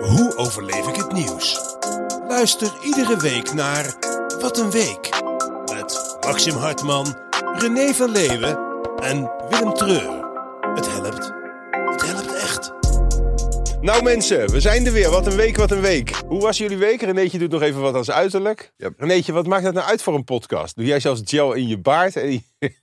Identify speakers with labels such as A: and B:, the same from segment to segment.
A: Hoe overleef ik het nieuws? Luister iedere week naar Wat een Week. Met Maxim Hartman, René van Leeuwen en Willem Treur. Het helpt. Het helpt echt.
B: Nou mensen, we zijn er weer. Wat een week, wat een week. Hoe was jullie week? Renéetje doet nog even wat als uiterlijk.
C: Yep.
B: Renéetje, wat maakt dat nou uit voor een podcast? Doe jij zelfs gel in je baard en, je-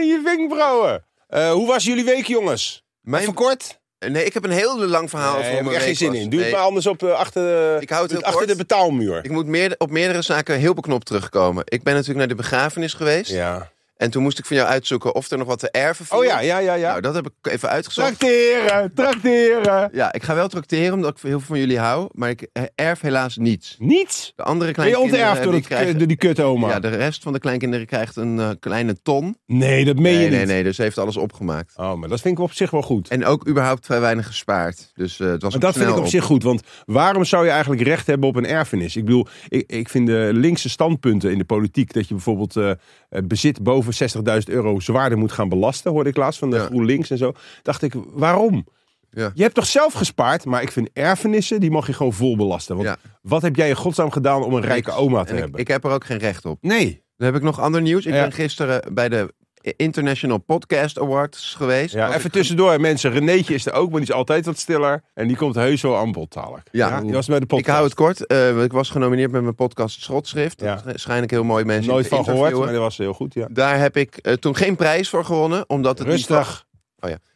B: en je wenkbrauwen? Eh, hoe was jullie week, jongens?
C: Mijn-
B: Even kort?
C: Nee, ik heb een heel lang verhaal
B: Nee,
C: over
B: heb
C: hoe
B: ik
C: mijn
B: echt geen zin
C: week was.
B: in. Doe
C: Nee,
B: het maar anders op, eh, achter, de-
C: Ik hou het heel
B: achter
C: kort.
B: de betaalmuur.
C: Ik moet meer, op meerdere zaken heel beknopt terugkomen. Ik ben natuurlijk naar de begrafenis geweest.
B: Ja.
C: En toen moest ik van jou uitzoeken of er nog wat te erven viel.
B: Oh ja, ja, ja, ja.
C: Nou, dat heb ik even uitgezocht.
B: Tracteren, tracteren.
C: Ja, ik ga wel tracteren, omdat ik heel veel van jullie hou. Maar ik eh, erf helaas niets.
B: Niets.
C: De andere
B: Ben je
C: kleinkinderen...
B: onterfd door, eh,
C: die
B: dat-
C: krijgen-
B: door die kutoma?
C: Ja, de rest van de kleinkinderen krijgt een eh, kleine ton.
B: Nee, dat meen
C: nee,
B: je niet.
C: nee, nee. Dus ze heeft alles opgemaakt.
B: Oh, maar dat vind ik op zich wel goed.
C: En ook überhaupt vrij weinig gespaard. Dus eh, het was
B: Maar
C: ook
B: dat vind ik
C: snel
B: op zich goed, want waarom zou je eigenlijk recht hebben op een erfenis? Ik bedoel, ik, ik vind de linkse standpunten in de politiek, dat je bijvoorbeeld eh, het bezit boven 60.000 euro zwaarder moet gaan belasten, hoorde ik laatst van de
C: Ja.
B: GroenLinks en zo. Dacht ik, waarom?
C: Ja.
B: Je hebt toch zelf gespaard, maar ik vind erfenissen, die mag je gewoon vol belasten. Want
C: Ja.
B: wat heb jij in godsnaam gedaan om een rijke
C: Niks.
B: oma te
C: En ik,
B: hebben?
C: ik heb er ook geen recht op.
B: nee.
C: Dan heb ik nog ander nieuws. Ik
B: Ja.
C: ben gisteren bij de International Podcast Awards geweest.
B: Ja,
C: Was
B: even
C: ik-
B: tussendoor, mensen. Renéetje is er ook, maar die is altijd wat stiller. En die komt heus wel aan bod dadelijk.
C: Ja.
B: die was bij de podcast.
C: Ik hou het kort. Eh, ik was genomineerd met mijn podcast Schotschrift.
B: Ja.
C: Ja. Schijnlijk heel mooi mensen.
B: nooit
C: te
B: van gehoord, maar
C: interviewen.
B: dat was heel goed, ja.
C: Daar heb ik eh, toen geen prijs voor gewonnen. Omdat het niveau,
B: Rustig.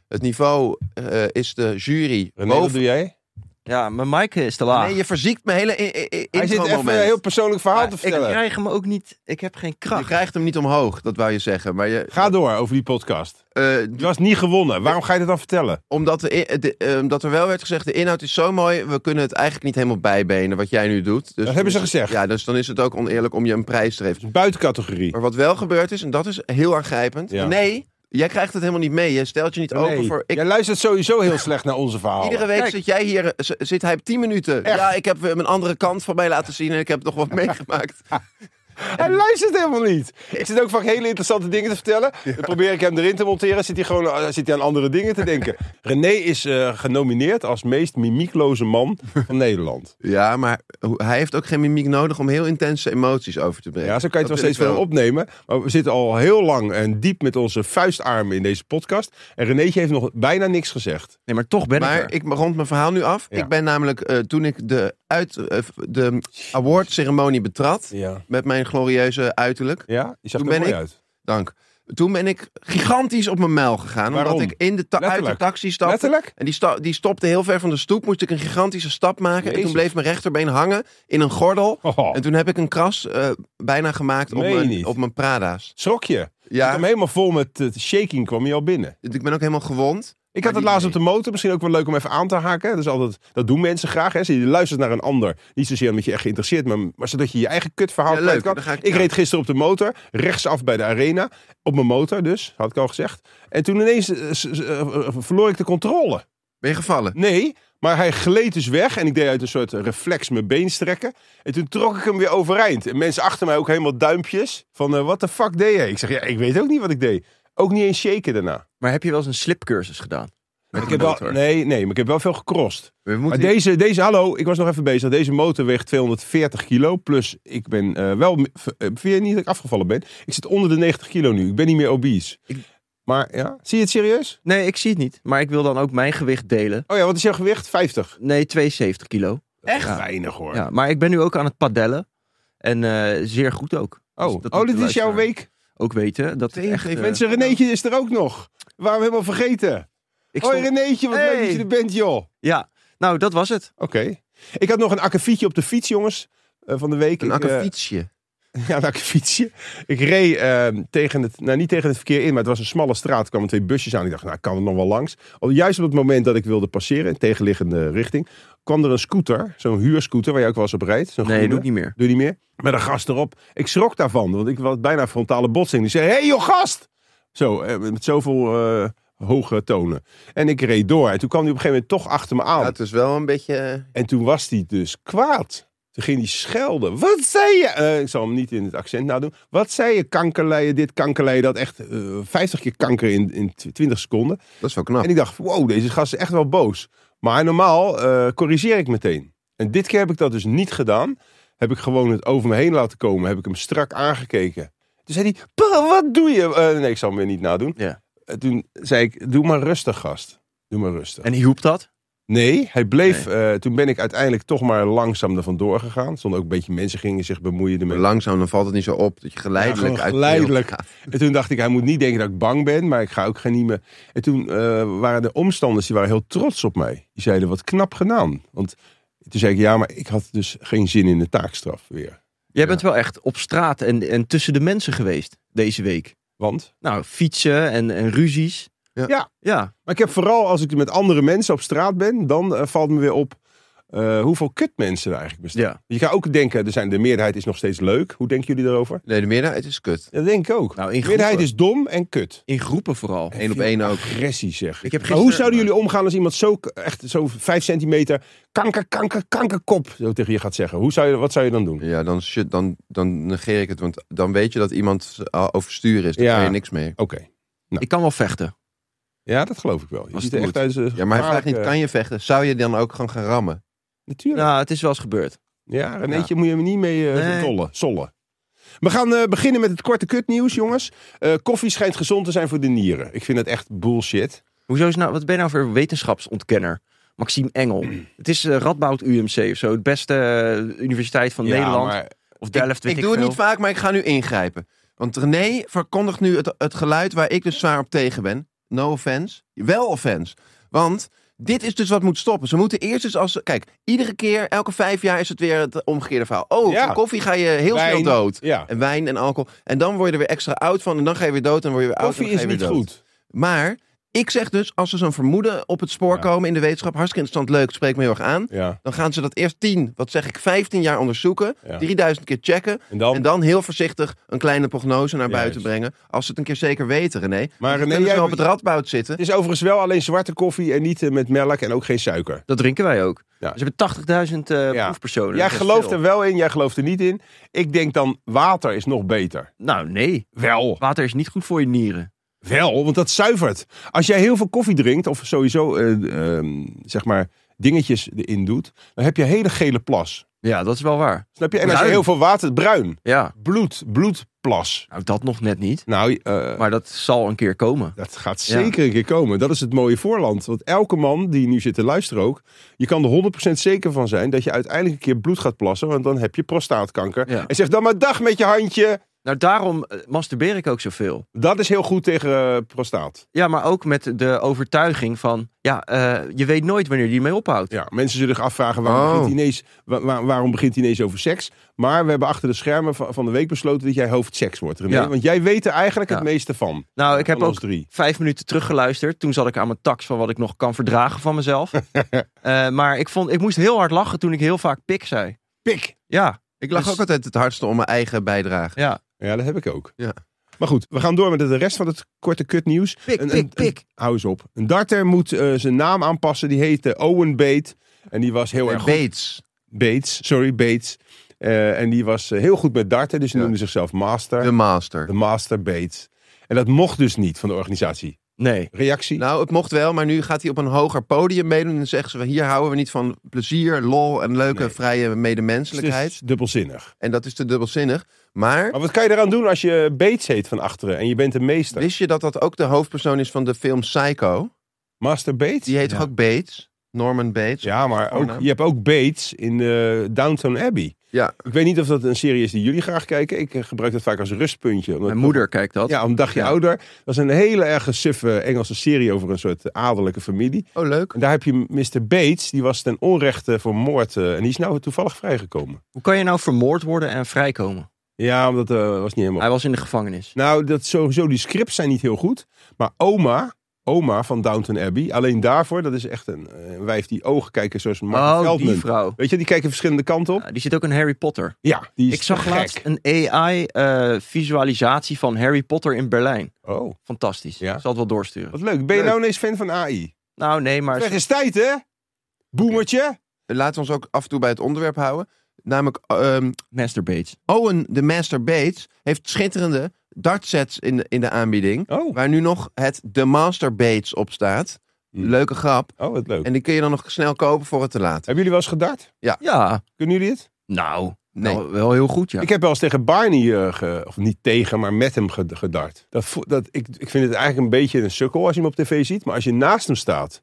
C: het niveau eh, is de jury
B: René, wat
C: boven.
B: doe jij?
D: Ja, mijn mic is te laag.
C: Nee, je verziekt mijn hele i- i-
B: Hij zit even
C: intro-moment.
B: een heel persoonlijk verhaal te
D: ik
B: vertellen.
D: krijg hem ook niet. Ik heb geen
C: Je
D: kracht.
C: krijgt hem niet omhoog, dat wou je zeggen. Maar je,
B: Ga door over die podcast.
C: eh,
B: Je was niet gewonnen. Waarom ga je dat dan vertellen?
C: omdat, de, i- de- eh, omdat er wel werd gezegd, de inhoud is zo mooi, we kunnen het eigenlijk niet helemaal bijbenen wat jij nu doet. Dus
B: Dat hebben ze
C: dus-
B: gezegd.
C: Ja, dus dan is het ook oneerlijk om je een prijs te geven.
B: Het is een buitencategorie.
C: Maar wat wel gebeurd is, en dat is heel aangrijpend.
B: Ja.
C: Nee, jij krijgt het helemaal niet mee. Je stelt je niet open voor... Ik,
B: Jij luistert sowieso heel slecht naar onze verhalen.
C: iedere week
D: Kijk.
C: zit jij hier, eh, z- zit hij op 10 minuten.
B: Echt?
C: Ja, ik heb eh, mijn andere kant van mij laten zien en ik heb nog wat meegemaakt.
B: Hij luistert helemaal niet. Ik zit ook vaak hele interessante dingen te vertellen. Dan probeer ik hem erin te monteren. Zit hij gewoon eh, zit hij aan andere dingen te denken. René is eh, genomineerd als meest mimiekloze man van Nederland.
C: Ja, maar ho- hij heeft ook geen mimiek nodig om heel intense emoties over te brengen.
B: Ja, zo kan je het wel
C: Dat
B: steeds
C: vind ik
B: verder opnemen. Maar we zitten al heel lang en diep met onze vuistarmen in deze podcast. En Renéetje heeft nog bijna niks gezegd.
D: Nee, maar toch ben ik
C: Maar
D: er.
C: ik rond mijn verhaal nu af.
B: Ja.
C: Ik ben namelijk, eh, toen ik de, uit, eh, de awardceremonie betrad,
B: Ja.
C: met mijn glorieuze uiterlijk,
B: Ja, je zag er
C: Toen
B: mooi
C: ben ik-
B: uit.
C: dank. Toen ben ik gigantisch op mijn mijl gegaan.
B: Waarom?
C: Omdat ik in de ta- uit de
B: Letterlijk.
C: taxi stapte.
B: Letterlijk?
C: En die, sta- die stopte heel ver van de stoep. Moest ik een gigantische stap maken. En
B: Jezus.
C: toen bleef mijn rechterbeen hangen in een gordel.
B: Oh,
C: En toen heb ik een kras eh, bijna gemaakt op
B: Meen je
C: mijn,
B: niet?
C: op mijn Prada's.
B: Schrok je? Ik
C: Ja,
B: kwam helemaal vol met eh, shaking, kwam je al binnen.
C: ik ben ook helemaal gewond.
B: Ik
C: Maar
B: had het
C: die-
B: laatst op de motor, misschien ook wel leuk om even aan te haken. Dat, is altijd, dat doen mensen graag. Hè. Je luistert naar een ander. Niet zozeer omdat je echt geïnteresseerd bent, maar zodat je je eigen kutverhaal
C: Ja,
B: kwijt
C: leuk.
B: kan.
C: Dan ga ik-
B: Oh, Ik reed gisteren op de motor, rechtsaf bij de arena. Op mijn motor dus, had ik al gezegd. En toen ineens eh, s- s- eh, eh, verloor ik de controle.
C: Ben je gevallen?
B: Nee, maar hij gleed dus weg. En ik deed uit een soort reflex mijn been strekken. En toen trok ik hem weer overeind. En mensen achter mij ook helemaal duimpjes. Van, wat what the fuck deed je? Ik zeg, ja, ik weet ook niet wat ik deed. Ook niet eens shaken daarna.
D: Maar heb je wel eens een slipcursus gedaan?
C: Met
B: Ik
C: de
B: heb wel,
C: motor.
B: nee, nee, maar ik heb wel veel gecrossed.
C: We
B: Maar
C: moeten
B: deze, deze, hallo, ik was nog even bezig. Deze motor weegt 240 kilo. Plus, ik ben eh, wel. m- v- eh, Vind je niet dat ik afgevallen ben? Ik zit onder de 90 kilo nu. Ik ben niet meer obese.
D: Ik-
B: Maar ja, zie je het serieus?
D: Nee, ik zie het niet. Maar ik wil dan ook mijn gewicht delen.
B: Oh ja, wat is jouw gewicht? 50.
D: Nee, 72 kilo.
B: Echt?
D: Ja.
B: Weinig hoor.
D: Ja, maar ik ben nu ook aan het padellen. En eh, zeer goed ook.
B: Oh,
D: Dus dat
B: oh,
D: moet
B: dit
D: de
B: is jouw
D: luisteraar
B: week.
D: Ook weten. Dat het echt,
C: Tegengeven.
D: eh,
B: Mensen, Renéetje is er ook nog. We waren we helemaal vergeten.
D: ik
B: Hoi
D: stond-
B: Renéetje, wat leuk
D: Hey.
B: dat je er bent, joh.
D: Ja, nou, dat was het.
B: Oké. Ik had nog een akkefietje op de fiets, jongens. eh, van de week.
C: een
B: Ik, eh,
C: akkefietsje.
B: Ja, een akkefietsje. Ik reed ehm, tegen het, nou niet tegen het verkeer in, maar het was een smalle straat. Er kwamen twee busjes aan. Ik dacht, nou, ik kan er nog wel langs. Al juist op het moment dat ik wilde passeren, in tegenliggende richting, kwam er een scooter. Zo'n huurscooter, waar je ook wel eens op rijdt. Zo'n
D: Nee,
B: groene.
D: doe ik niet meer.
B: Doe je niet meer? Met een gast erop. Ik schrok daarvan, want ik was bijna een frontale botsing. Die zei, hé hey, joh gast! Zo, eh, met zoveel eh, hoge tonen. En ik reed door. En toen kwam hij op een gegeven moment toch achter me aan.
C: Ja, het is wel een beetje...
B: En toen was hij dus kwaad. Toen ging hij schelden. Wat zei je? Eh, ik zal hem niet in het accent nadoen. Wat zei je? Kankerleien, dit, kankerleien, dat. Echt eh, 50 keer kanker in, in tw- 20 seconden.
C: Dat is wel knap.
B: En ik dacht, wow, deze gast is echt wel boos. Maar normaal eh, corrigeer ik meteen. En dit keer heb ik dat dus niet gedaan. Heb ik gewoon het over me heen laten komen. Heb ik hem strak aangekeken. Toen zei hij, "Pa, wat doe je? Eh, nee, ik zal hem weer niet nadoen.
D: Ja.
B: Eh, toen zei ik, doe maar rustig, gast. Doe maar rustig.
D: En hielp dat?
B: Nee, hij bleef. eh, toen ben ik uiteindelijk toch maar langzaam er vandoor gegaan. Er Stonden ook een beetje mensen gingen zich bemoeien ermee.
C: Langzaam, dan valt het niet zo op dat je geleidelijk
B: Ja,
C: uit
B: gewoon geleidelijk. En toen dacht ik, hij moet niet denken dat ik bang ben, maar ik ga ook geen niet meer. En toen eh, waren de omstanders die waren heel trots op mij. Die zeiden, wat knap gedaan. Want toen zei ik, ja, maar ik had dus geen zin in de taakstraf weer.
D: Jij bent wel echt op straat en, en tussen de mensen geweest deze week.
B: Want?
D: Nou, fietsen en, en ruzies.
C: Ja.
B: Ja.
D: Ja,
B: Maar ik heb vooral, als ik met andere mensen op straat ben, dan eh, valt me weer op eh, hoeveel kutmensen er eigenlijk bestaan.
D: ja.
B: Je gaat ook denken, er zijn, de meerderheid is nog steeds leuk. Hoe denken jullie daarover?
C: Nee, de meerderheid is kut.
B: Ja, dat denk ik ook.
D: Nou, in
B: de meerderheid
D: groepen.
B: is dom en kut.
D: In groepen vooral.
C: Eén op één ook.
B: Agressie zeg.
D: Ik heb
B: Maar hoe
D: gisteren-
B: zouden jullie omgaan als iemand zo, k- echt zo vijf centimeter kanker, kanker, kankerkop zo tegen je gaat zeggen? Hoe zou je, wat zou je dan doen?
C: Ja, dan, shit, dan, dan negeer ik het. Want dan weet je dat iemand eh, overstuur is. Dan
B: Ja.
C: kan je niks meer.
B: Oké.
D: Ik kan wel vechten.
B: Ja, dat geloof ik wel. Je
C: Als
B: ziet
C: het
B: er echt
C: moet.
B: uit.
C: Ja, maar hij vraagt niet,
B: eh.
C: kan je vechten? Zou je dan ook gewoon gaan rammen?
B: Natuurlijk.
D: Nou, het is wel eens gebeurd.
B: Ja, Renéetje moet je me niet mee eh
D: Nee.
B: dollen, sollen. We gaan eh, beginnen met het korte kutnieuws, jongens. Eh, koffie schijnt gezond te zijn voor de nieren. Ik vind dat echt bullshit.
D: Hoezo is nou, wat ben je nou voor wetenschapsontkenner? Maxime Engel. Het is eh, Radboud UMC of zo. Het beste eh, universiteit van
B: Ja,
D: Nederland.
B: maar
D: Of
C: Ik,
D: Delft, weet
C: ik doe het
D: veel.
C: niet vaak, maar ik ga nu ingrijpen. Want René verkondigt nu het, het geluid waar ik dus zwaar op tegen ben. No offense. Wel offense. Want dit is dus wat moet stoppen. Ze moeten eerst eens als... ze- Kijk, iedere keer, elke vijf jaar is het weer het omgekeerde verhaal. Oh,
B: Ja.
C: van koffie ga je heel
B: Wijn.
C: snel dood.
B: ja,
C: En wijn en alcohol. En dan word je er weer extra oud van. En dan ga je weer dood en dan word je weer oud. en
B: koffie
C: dan ga
B: is
C: je
B: niet
C: weer dood.
B: goed.
C: Maar ik zeg dus, als ze zo'n vermoeden op het spoor
B: Ja.
C: komen in de wetenschap... hartstikke interessant, leuk, spreekt me heel erg aan...
B: Ja,
C: Dan gaan ze dat eerst 10, wat zeg ik, 15 jaar onderzoeken.
B: Ja.
C: 3000 keer checken.
B: en dan?
C: En dan heel voorzichtig een kleine prognose naar
B: Juist.
C: buiten brengen. Als ze het een keer zeker weten, René. Want dan
B: René,
C: kunnen ze
B: jij-
C: wel op het radboud zitten.
B: Het is overigens wel alleen zwarte koffie en niet eh, met melk en ook geen suiker.
D: Dat drinken wij ook.
B: Ja.
D: Ze hebben 80.000 eh
B: Ja.
D: proefpersonen.
B: Jij
D: Dat is
B: gelooft
D: veel.
B: er wel in, jij gelooft er niet in. Ik denk dan, water is nog beter.
D: Nou, nee.
B: Wel.
D: Water is niet goed voor je nieren.
B: Wel, want dat zuivert. Als jij heel veel koffie drinkt, of sowieso, eh, ehm, zeg maar, dingetjes erin doet, dan heb je hele gele plas.
D: Ja, dat is wel waar.
B: Snap je? En als je
D: Bruin.
B: heel veel water, bruin,
D: Ja.
B: bloed, bloedplas.
D: Nou, dat nog net niet.
B: Nou, eh,
D: Maar dat zal een keer komen.
B: dat gaat
D: Ja.
B: zeker een keer komen. Dat is het mooie voorland. Want elke man die nu zit te luisteren ook, je kan er 100% zeker van zijn dat je uiteindelijk een keer bloed gaat plassen, want dan heb je prostaatkanker.
D: Ja.
B: En zeg dan maar dag met je handje.
D: Nou, daarom eh, masturbeer ik ook zoveel.
B: Dat is heel goed tegen eh, prostaat.
D: Ja, maar ook met de overtuiging van... Ja, eh, je weet nooit wanneer die mee ophoudt.
B: Ja, mensen zullen zich afvragen waarom,
C: Oh.
B: begint hij ineens, wa- wa- waarom begint hij ineens over seks. Maar we hebben achter de schermen van, van de week besloten dat jij hoofdseks wordt, René.
D: Ja.
B: Want jij weet er eigenlijk
D: Ja.
B: het meeste van.
D: Nou, ik heb
B: van
D: ook
B: ons drie.
D: vijf minuten teruggeluisterd. Toen zat ik aan mijn tax van wat ik nog kan verdragen van mezelf. Eh, maar ik, vond, ik moest heel hard lachen toen ik heel vaak pik zei.
B: Pik!
D: Ja,
C: Ik lach
D: Dus-
C: ook altijd het hardste om mijn eigen bijdrage.
D: ja.
B: Ja, dat heb ik ook.
C: Ja.
B: Maar goed, we gaan door met de rest van het korte kutnieuws.
D: Pik,
B: Een-
D: pik,
B: een-
D: pik.
B: Hou eens op. Een darter moet eh, zijn naam aanpassen. Die heette Owen Bate. En die was heel
C: En
B: erg goed.
C: Bates.
B: Bates, sorry, Bates. Eh, en die was eh, heel goed met darten. Dus die
C: Ja.
B: noemde zichzelf Master.
C: De master.
B: De Master Bates. En dat mocht dus niet van de organisatie.
D: Nee.
B: Reactie?
C: Nou, het mocht wel, maar nu gaat hij op een hoger podium meedoen. En dan zeggen ze, hier houden we niet van plezier, lol en leuke,
B: Nee.
C: vrije
B: Dus
C: medemenselijkheid.
B: dubbelzinnig.
C: En dat is te dubbelzinnig.
D: Oh,
C: Maar
B: Maar wat kan je eraan doen als je Bates heet van achteren en je bent de meester?
C: wist je dat dat ook de hoofdpersoon is van de film Psycho?
B: Master Bates?
C: Die heet
D: Ja.
C: toch ook Bates? Norman Bates?
B: Ja, maar ook,
C: naam.
B: je hebt ook Bates in eh, Downton Abbey.
C: Ja.
B: Ik weet niet of dat een serie is die jullie graag kijken. Ik eh, gebruik dat vaak als rustpuntje. omdat-
D: Mijn moeder kijkt dat.
B: Ja, om een dagje
D: Ja.
B: ouder. Dat is een hele erg suffe Engelse serie over een soort adellijke familie.
C: Oh, leuk.
B: En daar heb je Mr. Bates, die was ten onrechte vermoord. eh, en die is nou toevallig vrijgekomen.
D: Hoe kan je nou vermoord worden en vrijkomen?
B: Ja, omdat dat was niet helemaal...
D: Hij was in de gevangenis.
B: Nou, dat sowieso, die scripts zijn niet heel goed. Maar oma, oma van Downton Abbey, alleen daarvoor, dat is echt een, eh, een wijf die ogen kijken zoals Mark
D: oh,
B: Veldman.
D: die vrouw.
B: Weet je, die kijken verschillende kanten op.
D: Ja, die zit ook in Harry Potter.
B: Ja, die is
D: Ik zag
B: te gek.
D: laatst een AI-visualisatie van Harry Potter in Berlijn.
B: Oh,
D: Fantastisch.
B: Ja.
D: Zal het wel doorsturen.
B: wat leuk. Ben je
C: Leuk.
B: nou ineens fan van AI?
D: Nou, nee, maar...
B: Weg is tijd, hè? Boemertje.
C: laten we ons ook af en toe bij het onderwerp houden. Namelijk, ehm,
D: Masturbates.
C: Owen de Master Bates heeft schitterende dartsets in de, in de aanbieding.
B: Oh.
C: Waar nu nog het de Master Bates op staat.
D: Hmm.
C: Leuke grap.
B: Oh, wat leuk.
C: En die kun je dan nog snel kopen voor het te laat.
B: Hebben jullie wel eens gedart?
D: Ja,
B: Kunnen jullie het?
D: nou,
C: Nee.
D: wel, wel heel goed, ja.
B: Ik heb wel eens tegen Barney, eh, ge- of niet tegen, maar met hem ged- gedart. Dat, vo- dat, ik, ik vind het eigenlijk een beetje een sukkel als je hem op tv ziet. Maar als je naast hem staat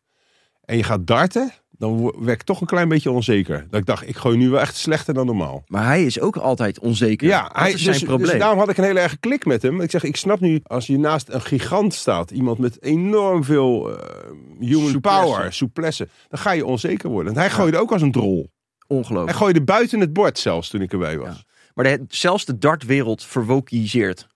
B: en je gaat darten, dan wo- werd ik toch een klein beetje onzeker. Dat ik dacht, ik gooi nu wel echt slechter dan normaal.
D: Maar hij is ook altijd onzeker.
B: Ja,
D: dat
B: hij,
D: is zijn
B: dus,
D: probleem.
B: dus daarom had ik een hele erge klik met hem. Ik zeg, ik snap nu, als je naast een gigant staat, iemand met enorm veel eh, human
D: Souplesse.
B: power, souplesse, dan ga je onzeker worden. En hij gooide ook als een drol. Hij
D: Ongelooflijk.
B: gooide buiten het bord zelfs toen ik erbij was.
D: Maar de, zelfs de dartwereld verwokiseert. Dat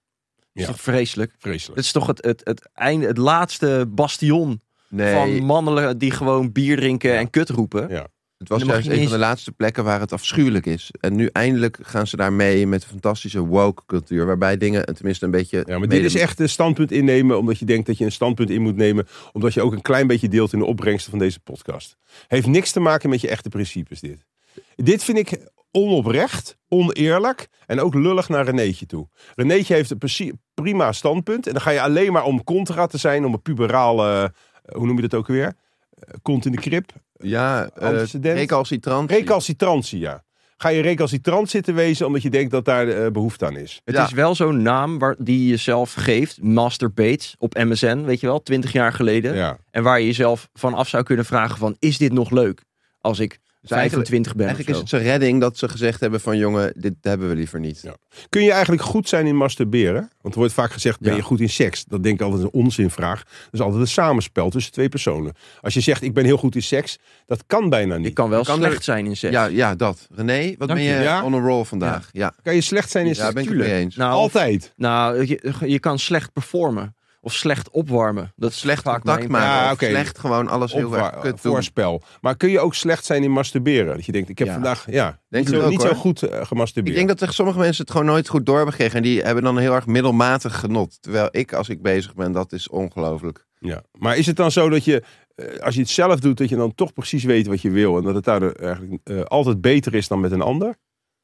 D: is
B: Ja.
D: toch vreselijk?
B: Vreselijk.
D: Dat is toch het, het, het, einde, het laatste bastion
C: Nee,
D: van mannen die gewoon bier drinken en kut roepen.
B: Ja.
C: het was
D: Dan mag
C: juist
D: je
C: een
D: niet
C: van de laatste plekken waar het afschuwelijk is. En nu eindelijk gaan ze daar mee met een fantastische woke cultuur. Waarbij dingen eh, tenminste een beetje...
B: Ja, maar dit
C: mede-
B: is echt een standpunt innemen omdat je denkt dat je een standpunt in moet nemen. Omdat je ook een klein beetje deelt in de opbrengsten van deze podcast. Heeft niks te maken met je echte principes dit. Dit vind ik onoprecht, oneerlijk en ook lullig naar Renéetje toe. Renéetje heeft een precie- prima standpunt. En dan ga je alleen maar om contra te zijn, om een puberale, eh, hoe noem je dat ook weer? Eh, Kont in de krip.
C: Ja, eh,
B: Antecedent.
C: recalcitrant.
B: Recalcitrantie, ja. Ga je recalcitrant zitten wezen omdat je denkt dat daar eh, behoefte aan is.
D: Het
C: Ja.
D: is wel zo'n naam waar, die je zelf geeft, Master Bates, op MSN, weet je wel, twintig jaar geleden.
B: Ja.
D: En waar je jezelf van af zou kunnen vragen van, is dit nog leuk als ik
C: eigenlijk-
D: 25 ben
C: Eigenlijk
D: of
C: is
D: zo?
C: het zijn redding dat ze gezegd hebben van jongen, dit hebben we liever niet.
B: Ja. Kun je eigenlijk goed zijn in masturberen? Want er wordt vaak gezegd, ben
D: Ja.
B: je goed in seks? Dat denk ik altijd een onzinvraag. Dat is altijd een samenspel tussen twee personen. Als je zegt, ik ben heel goed in seks, dat kan bijna niet.
D: Ik kan wel
C: Kan
D: slecht
C: er-
D: zijn in seks.
C: Ja, ja, dat. René, wat
D: Dank
C: ben je,
D: je.
B: Ja?
C: on a roll vandaag? Ja,
B: Kan je slecht zijn
C: ja,
B: in seks?
C: ben ik het
B: Tuurlijk.
C: mee eens.
D: nou, of-
B: Altijd.
D: nou je, je kan slecht performen of slecht opwarmen. Dat is
C: slecht
D: vaak
C: contact
D: mijn-
C: maken,
B: Ja,
C: of
B: oké.
C: slecht gewoon alles heel
B: Opwa-
C: erg kut doen.
B: voorspel. Maar kun je ook slecht zijn in masturberen? Dat je denkt, ik heb
D: Ja.
B: vandaag ja,
C: Denk
B: niet,
C: het
B: zo,
C: ook,
B: niet zo
C: hoor.
B: goed eh, gemasturbeerd.
C: Ik denk dat echt sommige mensen het gewoon nooit goed door hebben gekregen. En die hebben dan een heel erg middelmatig genot. Terwijl ik, als ik bezig ben, dat is ongelooflijk.
B: ja. Maar is het dan zo dat je, eh, als je het zelf doet, dat je dan toch precies weet wat je wil? En dat het daardoor eigenlijk eh, altijd beter is dan met een ander?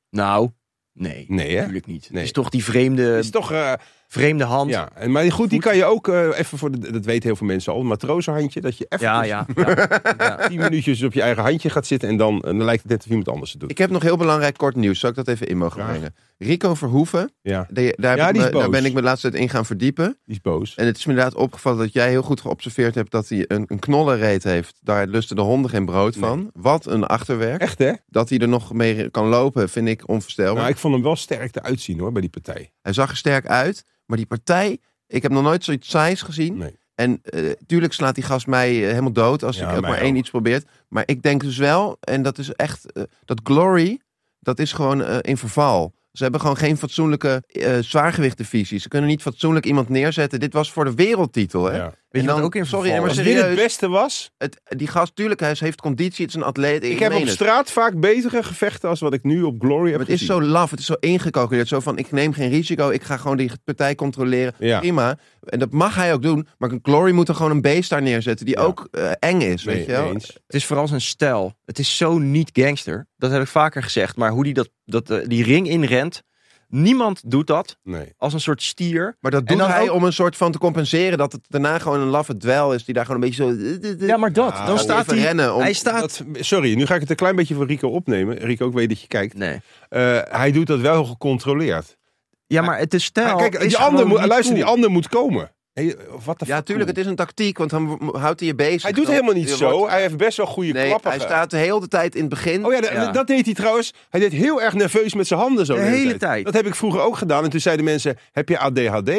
D: Nou, nee,
B: Nee, hè?
D: natuurlijk niet.
B: Nee.
D: Het is toch die vreemde,
B: Het is toch... eh,
D: vreemde hand.
B: Ja, en, maar goed, die kan je ook eh, even voor de, dat weten heel veel mensen al, een matrozenhandje, dat je even
D: ja, ja. ja, ja.
B: tien minuutjes op je eigen handje gaat zitten en dan, eh, dan lijkt het net of iemand anders het doet.
C: Ik heb nog heel belangrijk kort nieuws. Zal ik dat even in mogen
B: Graag.
C: brengen? Rico Verhoeven,
B: Ja,
C: die- daar,
B: Ja,
C: heb ik
B: die is
C: me- daar
B: boos.
C: ben ik me de laatste tijd in gaan verdiepen.
B: die is boos.
C: En het is me inderdaad opgevallen dat jij heel goed geobserveerd hebt dat hij een, een knollenreet heeft. Daar lusten de honden geen brood van. Wat een achterwerk.
B: Echt hè?
C: Dat hij er nog mee kan lopen, vind ik onvoorstelbaar.
B: Nou, ik vond hem wel sterk eruit zien hoor, bij die partij.
C: Hij zag er sterk uit, maar die partij, ik heb nog nooit zoiets saais gezien.
B: Nee.
C: En eh, tuurlijk slaat die gast mij eh, helemaal dood als
B: Ja,
C: ik ook
B: mij
C: maar één
B: ook.
C: iets probeert. Maar ik denk dus wel, en dat is echt, eh, dat glory, dat is gewoon eh, in verval. Ze hebben gewoon geen fatsoenlijke eh zwaargewichtenvisie. Ze kunnen niet fatsoenlijk iemand neerzetten. Dit was voor de wereldtitel, hè?
B: Ja.
D: Weet
C: En
D: je wat
C: dan-
D: ook in
C: sorry,
D: verval
C: maar
D: is?
B: Als dit het
C: serieus?
B: beste was,
C: Het, die gast, tuurlijk, hij heeft conditie. Het is een atleet.
B: ik heb
C: meen
B: op
C: het.
B: straat vaak betere gevechten als wat ik nu op Glory heb
C: Maar het is
B: gezien.
C: zo laf, het is zo ingecalculeerd. Zo van, ik neem geen risico, ik ga gewoon die partij controleren.
B: Ja.
C: Prima. En dat mag hij ook doen. Maar Glory moet er gewoon een beest daar neerzetten die
B: Ja.
C: ook eh, eng is,
B: Nee,
C: weet je wel.
B: eens.
D: Het is vooral zijn stijl. Het is zo niet gangster. Dat heb ik vaker gezegd. Maar hoe die dat, dat, eh, die ring inrent. Niemand doet dat
B: Nee.
D: als een soort stier.
C: Maar dat doet
D: dan
C: hij
D: ook-
C: om een soort van te compenseren dat het daarna gewoon een laffe dwel is die daar gewoon een beetje zo... eh,
D: Ja, maar dat.
B: Nou,
D: dan
B: even
D: staat
C: even
D: hij...
C: rennen. Om...
D: Hij staat...
B: Dat, sorry, nu ga ik het een klein beetje voor Rico opnemen. Rico, ik weet dat je kijkt.
D: Nee.
B: Eh, hij doet dat wel heel gecontroleerd.
D: Ja, maar het is stijl
B: Kijk,
D: is
B: die ander
D: gewoon
B: moet,
D: niet
B: luister,
D: cool.
B: die ander moet komen. Hey, wat de
C: Ja,
B: fuck,
C: tuurlijk, het is een tactiek, want dan w- houdt hij je bezig.
B: Hij doet
C: Dan-
B: helemaal niet
C: je
B: zo.
C: wordt-
B: Hij heeft best wel goede
C: Nee,
B: klappen.
C: hij
B: ge-
C: staat de hele tijd in het begin.
B: Oh ja, de-
D: Ja.
B: dat deed hij trouwens. Hij deed heel erg nerveus met zijn handen zo.
D: De hele tijd.
B: Dat heb ik vroeger ook gedaan. En toen zeiden mensen, heb je ADHD?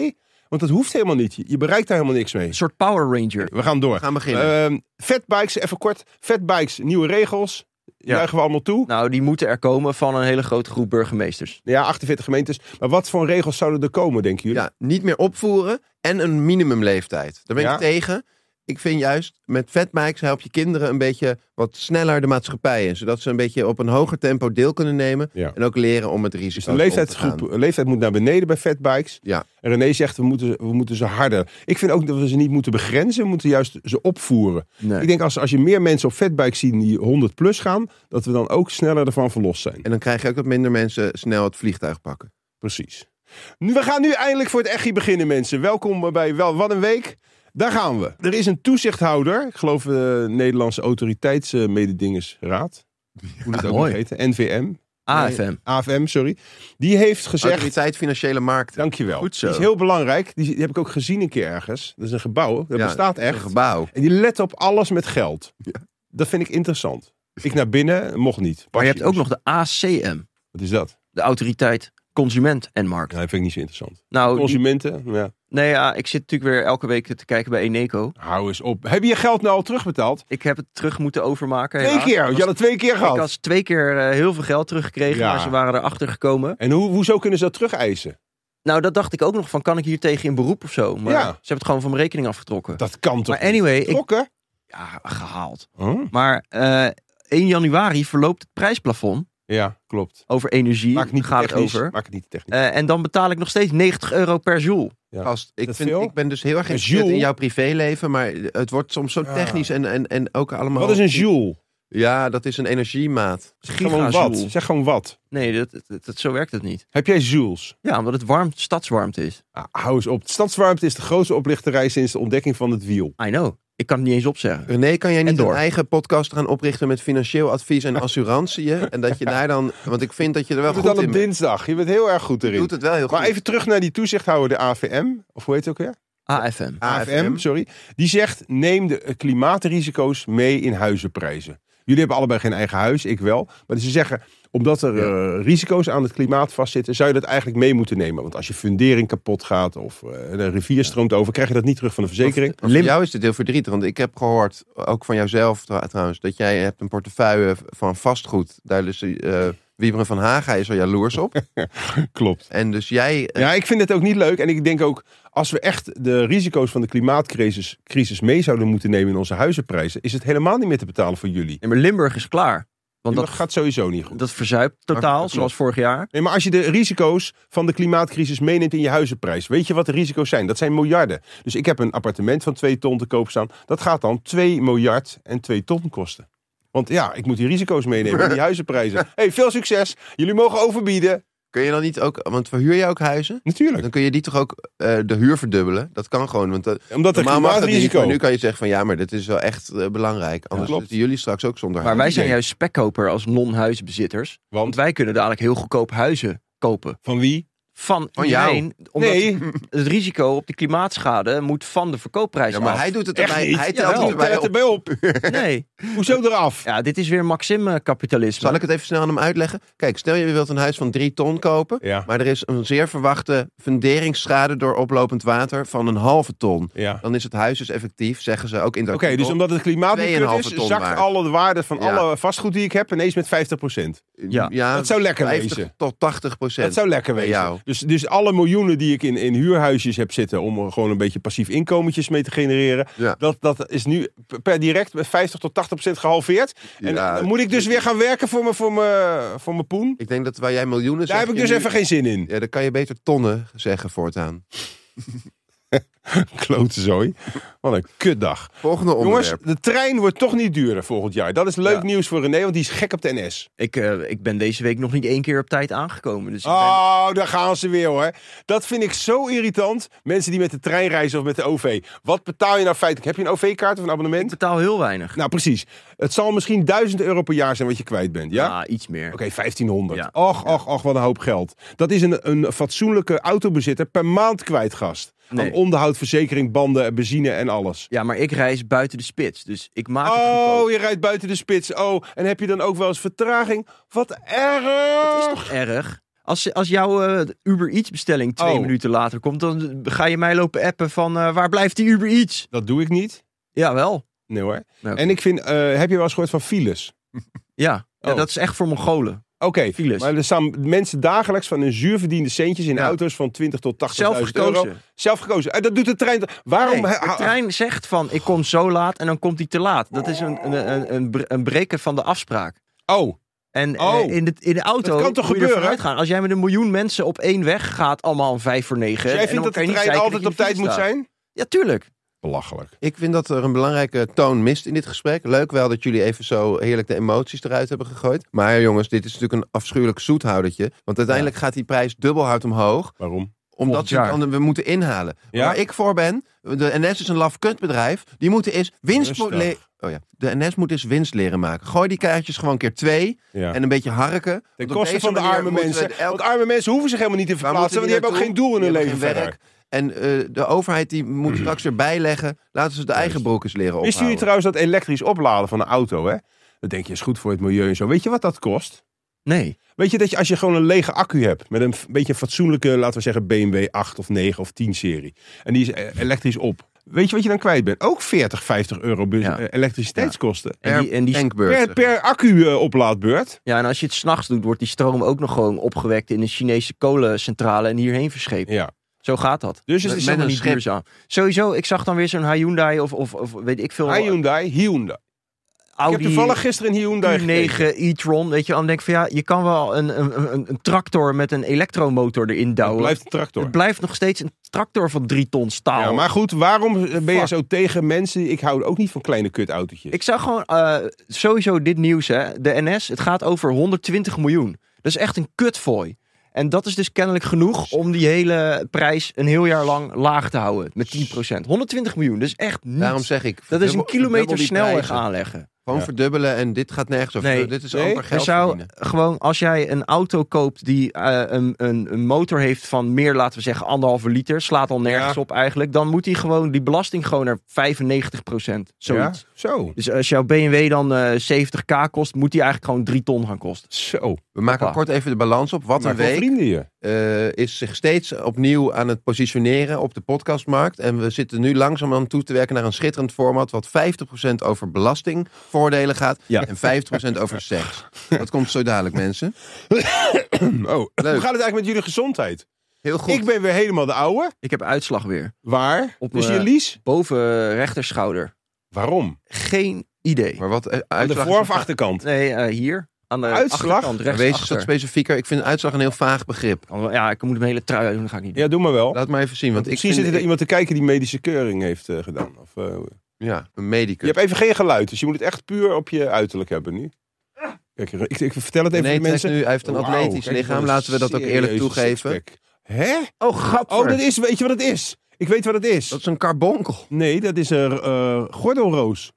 B: Want dat hoeft helemaal niet. Je- Je bereikt daar helemaal niks mee.
D: Een soort Power Ranger.
B: We gaan door.
C: We gaan beginnen.
B: Ehm, fatbikes, even kort. Fatbikes, nieuwe regels.
D: Ja.
B: Juichen we allemaal toe.
D: Nou, die moeten er komen van een hele grote groep burgemeesters.
B: Ja, 48 gemeentes. Maar wat voor regels zouden er komen, denken jullie?
C: Ja, niet meer opvoeren en een minimumleeftijd. Daar ben
B: Ja.
C: ik tegen. Ik vind juist, met fatbikes help je kinderen een beetje wat sneller de maatschappij in. Zodat ze een beetje op een hoger tempo deel kunnen nemen.
B: Ja.
C: En ook leren om het
B: Dus
C: risico
B: de leeftijdsgroep, de leeftijd moet naar beneden bij fatbikes.
C: Ja.
B: En René zegt, we moeten, we moeten ze harder. Ik vind ook dat we ze niet moeten begrenzen. We moeten juist ze opvoeren.
D: Nee.
B: Ik denk als, als je meer mensen op fatbikes zien die 100 plus gaan, dat we dan ook sneller ervan verlost zijn.
C: En dan krijg je ook dat minder mensen snel het vliegtuig pakken.
B: Precies. Nu, we gaan nu eindelijk voor het echi beginnen, mensen. Welkom bij Wel Wat een Week. Daar gaan we. Er is een toezichthouder, ik geloof de Nederlandse Autoriteitsmededingingsraad. Hoe dat ook
C: Ah, mooi.
B: nog heet, NVM.
D: AFM.
B: AFM, sorry. Die heeft gezegd...
C: Autoriteit Financiële Markten.
B: Dankjewel.
C: Goed zo.
B: Die is heel belangrijk. Die, die heb ik ook gezien een keer ergens. Dat is een gebouw. Dat
C: Ja,
B: bestaat
C: Een
B: echt.
C: gebouw.
B: En die let op alles met geld.
C: Ja.
B: Dat vind ik interessant. Ik naar binnen, mocht niet.
D: Maar je hebt ook
B: Pasjes.
D: nog de ACM.
B: Wat is dat?
D: De autoriteit Consument en Markt.
B: Nou, dat vind ik niet zo interessant.
D: Nou, die-
B: Consumenten, ja.
D: nee, ja, ik zit natuurlijk weer elke week te kijken bij Eneco.
B: Hou eens op. Heb je je geld nou al terugbetaald?
D: Ik heb het terug moeten overmaken.
B: Twee
D: helaas.
B: keer. want
D: Ik
B: Je had
D: was-
B: het twee keer
D: Ik
B: gehad.
D: had twee keer eh, heel veel geld teruggekregen,
B: Ja.
D: maar ze waren erachter gekomen.
B: En hoe, hoezo kunnen ze dat terugeisen?
D: Nou, dat dacht ik ook nog van, kan ik hier tegen in beroep of zo? Maar
B: Ja.
D: ze hebben het gewoon van mijn rekening afgetrokken.
B: Dat kan toch
D: maar anyway,
B: niet?
D: ik,
B: Trokken?
D: ja, gehaald.
B: Huh?
D: Maar eh 1 januari verloopt het prijsplafond
B: Ja, klopt.
D: over energie.
B: Maak het niet
D: gaat het
B: technisch.
D: over.
B: Maak het niet technisch.
D: Eh, en dan betaal ik nog steeds 90 euro per joule.
B: Ja.
C: Gast, ik,
B: Dat
C: vind,
B: veel?
C: ik ben dus heel erg
B: Een
C: geïnteresseerd in
B: joule?
C: jouw privéleven, maar het wordt soms zo
B: Ja.
C: technisch en, en, en ook
D: Eh,
C: allemaal...
B: Wat is een joule?
C: Ja, dat is een energiemaat.
B: Gewoon wat.
D: Gigajoule.
B: Zeg gewoon wat.
D: Nee, dat, dat, dat- zo werkt het niet.
B: Heb jij joules?
D: Ja, omdat het warm, stadswarmte is.
B: Ah, hou eens op. Stadswarmte is de grootste oplichterij sinds de ontdekking van het wiel.
D: I know. Ik kan het niet eens opzeggen.
C: René, kan jij niet
D: door.
C: een eigen podcast gaan oprichten met financieel advies en assurantieën? En dat je daar dan... Want ik vind dat je er wel
B: Je doet het
C: goed
B: dan
C: in
B: op
C: bent.
B: dinsdag. Je bent heel erg goed
C: Je
B: erin.
C: doet het wel heel goed.
B: Maar even terug naar die toezichthouder, de AVM. Of hoe heet het ook weer?
D: AFM.
C: AFM.
B: sorry. Die zegt, neem de eh, klimaatrisico's mee in huizenprijzen. Jullie hebben allebei geen eigen huis, ik wel. Maar ze zeggen, omdat er eh, risico's aan het klimaat vastzitten... zou je dat eigenlijk mee moeten nemen. Want als je fundering kapot gaat of eh, een rivier stroomt over... krijg je dat niet terug van de verzekering.
C: Want voor jou is dit heel verdrietig, want ik heb gehoord, ook van jouzelf tra- trouwens, dat jij hebt een portefeuille van vastgoed. Daar is eh Wiebren van Haga is al jaloers op.
B: Klopt.
C: En dus jij... eh,
B: Ja, ik vind het ook niet leuk. En ik denk ook, als we echt de risico's van de klimaatcrisis crisis mee zouden moeten nemen in onze huizenprijzen, is het helemaal niet meer te betalen voor jullie.
D: Nee, maar Limburg is klaar.
B: Want
D: Want
B: dat
D: dat,
B: gaat sowieso niet goed.
D: dat verzuipt totaal,
C: klopt.
D: zoals vorig jaar.
B: Nee, maar als je de risico's van de klimaatcrisis meeneemt in je huizenprijs, weet je wat de risico's zijn? Dat zijn miljarden. Dus ik heb een appartement van 2 ton te koop staan. Dat gaat dan 2 miljard en 2 ton kosten. Want ja, ik moet die risico's meenemen in die huizenprijzen. hey, veel succes. Jullie mogen overbieden.
C: Kun je dan niet ook, want verhuur je ook huizen?
B: Natuurlijk.
C: Dan kun je die toch ook eh, de huur verdubbelen? Dat kan gewoon, want dat,
B: Omdat er
C: normaal mag dat niet.
B: klimaatrisico...
C: Maar nu kan je zeggen van ja, maar dit is wel echt eh, belangrijk. Anders
B: klopt.
C: zitten jullie straks ook zonder
D: Maar wij
C: huis.
D: zijn
B: idee.
D: juist spekkoper als non-huisbezitters. Want
B: Want
D: wij kunnen dadelijk heel goedkoop huizen kopen.
B: van wie?
D: Van,
C: Van jou.
D: iedereen. Omdat
B: Nee.
D: het risico op de klimaatschade moet van de verkoopprijs
C: Ja, maar
D: af.
C: hij doet het
B: Echt
C: erbij.
B: niet?
C: Hij
D: Ja,
C: telt
D: wel.
C: het
B: Tel
C: erbij
B: het
C: op.
B: erbij op.
D: Nee.
B: Hoezo eraf?
D: Ja, dit is weer Maxim-kapitalisme.
C: Zal ik het even snel aan hem uitleggen? Kijk, stel je wilt een huis van drie ton kopen.
B: Ja.
C: Maar er is een zeer verwachte funderingsschade door oplopend water van een halve ton.
B: ja.
C: Dan is het huis dus effectief, zeggen ze ook in dat
B: Oké, dus omdat het klimaat niet goed
C: 2,5
B: is,
C: ton
B: zakt
C: waard.
B: alle de waarde van
C: Ja.
B: alle vastgoed die ik heb ineens met 50
D: Ja,
B: dat zou lekker wezen.
C: tot 80 procent.
B: Dat zou lekker
C: bij
B: wezen.
C: jou.
B: Dus, dus alle miljoenen die ik in, in huurhuisjes heb zitten om er gewoon een beetje passief inkomentjes mee te genereren,
C: Ja.
B: dat, dat is nu per direct met 50 tot 80 gehalveerd. En
C: Ja.
B: dan moet ik dus weer gaan werken voor mijn voor mijn- voor mijn poen?
C: Ik denk dat waar jij miljoenen
B: Daar
C: zegt,
B: heb ik
C: je
B: dus
C: nu-
B: even geen zin in.
C: Ja, dan kan je beter tonnen zeggen voortaan.
B: Klote zooi. Wat een kutdag.
C: Volgende
B: Jongens,
C: onderwerp.
B: de trein wordt toch niet duurder volgend jaar. Dat is leuk
D: Ja.
B: nieuws voor René, want die is gek op de NS.
D: Ik, eh, ik ben deze week nog niet één keer op tijd aangekomen. Dus ik ben-
C: Ah.
B: Oh, daar gaan ze weer hoor. Dat vind ik zo irritant. Mensen die met de trein reizen of met de OV. Wat betaal je nou feitelijk? Heb je een OV-kaart of een
D: ik
B: abonnement?
D: betaal heel weinig.
B: Nou, precies. Het zal misschien 1000 euro per jaar zijn wat je kwijt bent, ja?
D: Ah, iets meer.
B: Oké, 1500.
D: Ja.
B: Och, och, och, wat een hoop geld. Dat is een, een fatsoenlijke autobezitter per maand kwijt, gast.
D: Nee.
B: Aan onderhoud, verzekering, banden, benzine en alles.
D: Ja, maar ik reis buiten de spits. Dus ik maak het goedkoop.
B: Oh, je rijdt buiten de spits. Oh, en heb je dan ook wel eens vertraging? Wat
D: Het is
B: erg!
D: toch erg? Als, als jouw eh, Uber Eats bestelling twee
B: Oh.
D: minuten later komt, dan ga je mij lopen appen van eh, waar blijft die Uber Eats?
B: Dat doe ik niet.
D: Jawel.
B: Nee hoor.
D: Nou.
B: En ik vind, eh, heb je wel eens gehoord van files?
D: Ja. ja,
B: Oh.
D: dat is echt voor Mongolen.
B: Oké,
D: Files.
B: maar er staan mensen dagelijks van hun zuurverdiende centjes in
D: Ja.
B: auto's van 20 tot 80.000
D: Zelf
B: euro.
D: gekozen.
B: Zelf gekozen. En dat doet de trein. toch- Waarom?
D: Nee,
B: ha-
D: de
B: ha-
D: trein zegt van ik kom zo laat en dan komt hij te laat. Dat is een, een, een, een, bre- een breken van de afspraak.
B: Oh,
D: En eh,
B: Oh.
D: in, de, in de auto
B: Dat kan toch
D: moet je er
B: gebeuren?
D: vooruit gaan. Als jij met een miljoen mensen op één weg gaat, allemaal om vijf voor
B: dus
D: negen.
B: jij
D: en dan
B: vindt dat
D: kan
B: de
D: je niet
B: trein
D: zeiken
B: altijd
D: dat
B: op
D: je in de
B: tijd
D: file
B: moet
D: staat.
B: zijn?
D: Ja, tuurlijk.
B: Belachelijk.
C: Ik vind dat er een belangrijke toon mist in dit gesprek. Leuk wel dat jullie even zo heerlijk de emoties eruit hebben gegooid. Maar jongens, dit is natuurlijk een afschuwelijk zoethoudertje. Want uiteindelijk gaat die prijs dubbel hard omhoog.
B: Waarom?
C: Omdat
D: Volgend
C: we, het
D: jaar.
C: dan- we moeten inhalen.
B: Ja?
C: Waar ik voor ben, de NS is een laf kutbedrijf. Die moeten eens winst...
B: Rustig.
C: le- Oh ja, de NS moet eens winst leren maken. Gooi die kaartjes gewoon keer twee
B: Ja.
C: en een beetje harken.
B: Ten
C: Want op
B: koste
C: deze
B: van de
C: manier
B: arme
C: moeten we
B: mensen.
C: de- elk-
B: Want arme mensen hoeven zich helemaal niet te
C: waar
B: verplaatsen, want die
C: moeten
B: hebben ook geen doel in hun
C: naartoe?
B: leven
C: Die hebben
B: verder.
C: geen werk. En eh, de overheid die moet straks erbij leggen. Laten ze de eigen broek eens leren ophouden.
B: Wisten jullie trouwens dat elektrisch opladen van een auto, hè? Dat denk je is goed voor het milieu en zo. Weet je wat dat kost?
D: Nee.
B: Weet je dat je als je gewoon een lege accu hebt met een f- beetje fatsoenlijke, laten we zeggen, BMW 8 of 9 of 10 serie. En die is eh, elektrisch op. Weet je wat je dan kwijt bent? Ook 40, 50 euro bus-
D: Ja.
B: eh, elektriciteitskosten.
D: En die, en die,
C: tankbeurt, zeg
B: Per,
C: maar.
B: per accu eh, oplaadbeurt.
D: ja, en als je het s'nachts doet, wordt die stroom ook nog gewoon opgewekt in een Chinese kolencentrale en hierheen verscheept.
B: Ja.
D: Zo gaat dat.
B: Dus het is
D: Het is
C: Met
D: helemaal
C: een
D: niet
C: schip.
D: duurzaam. Sowieso, ik zag dan weer zo'n Hyundai of, of, of weet ik veel.
B: Hyundai, Hyundai.
C: Oh,
B: Ik heb
D: Audi
B: toevallig gisteren een Hyundai gekeken.
D: Q9 e-tron. Weet je, wel. dan denk ik van ja, je kan wel een, een, een, een tractor met een elektromotor erin
B: Het
D: douwen.
B: blijft een tractor.
D: Het blijft nog steeds een tractor van drie ton staal.
B: Ja, maar goed, waarom ben je
D: Fuck.
B: zo tegen mensen? Ik hou ook niet van kleine kutautootjes.
D: Ik zou gewoon eh, sowieso dit nieuws, hè. De NS, het gaat over 120 miljoen. Dat is echt een kutfooi. En dat is dus kennelijk genoeg om die hele prijs een heel jaar lang laag te houden. Met 10%. 120 miljoen, dat is echt niets.
C: Daarom zeg ik...
D: dat is een
C: verdubbel- verdubbel
D: kilometer
C: die
D: snelweg
C: prijzen.
D: aanleggen.
C: Gewoon
B: Ja.
C: verdubbelen en dit gaat nergens over.
D: Nee.
C: Dit is
B: Nee.
C: amper
D: Je
C: geld
D: zou
C: verdienen.
D: gewoon, als jij een auto koopt die eh, een, een, een motor heeft van meer, laten we zeggen, anderhalve liter, slaat al nergens
B: Ja.
D: op eigenlijk, dan moet die gewoon die belasting gewoon naar 95%. Zoiets.
B: Ja? Zo.
D: Dus als jouw BMW dan eh, 70k kost, moet die eigenlijk gewoon 3 ton gaan kosten.
B: Zo.
C: We maken
D: Hoppa.
C: kort even de balans op. Wat
B: Maar
C: een
B: voor
C: week
B: vrienden je.
C: eh, is zich steeds opnieuw aan het positioneren op de podcastmarkt. En we zitten nu langzaam aan toe te werken naar een schitterend format... wat 50% over belastingvoordelen gaat
B: Ja.
C: en 50% over seks. Dat komt zo dadelijk, mensen.
B: Oh, hoe gaat het eigenlijk met jullie gezondheid?
C: Heel Mm. goed.
B: Ik ben weer helemaal de ouwe.
D: Ik heb uitslag weer.
B: Waar?
D: Op,
B: dus
D: eh,
B: je lies?
D: Boven eh, rechterschouder.
B: Waarom?
D: Geen idee.
C: Maar wat eh,
B: Aan de
C: uitslag
B: voor-
C: is-
B: of achterkant?
D: Nee, eh, hier. Aan de
B: Uitslag?
D: achterkant,
C: Maar Wees eens
D: rechtsachter.
C: wat specifieker. Ik vind uitslag een heel vaag begrip.
D: Oh, Ja, ik moet hem hele trui doen, dat ga ik niet doen.
B: Ja, doe maar wel.
C: Laat maar even zien. Want ik Mm.
B: Misschien
C: vind,
B: zit er iemand te kijken die medische keuring heeft eh, gedaan. Of, eh,
C: Ja, een
B: je
C: medicus.
B: hebt even geen geluid, dus je moet het echt puur op je uiterlijk hebben nu. Kijk, ik, ik vertel het even
C: Ah. nee,
B: aan de
C: Trent
B: mensen.
C: nu, hij heeft een
B: Wauw,
C: atletisch
B: kijk,
C: lichaam.
B: wat een
C: Laten we dat ook eerlijk
B: serieuze
C: toegeven.
B: sixpack. Hè?
D: Oh, grappig.
B: Oh, dat is, weet je wat het is? Ik weet wat het is.
C: Dat is een karbonkel.
B: Nee, dat is een eh, gordelroos.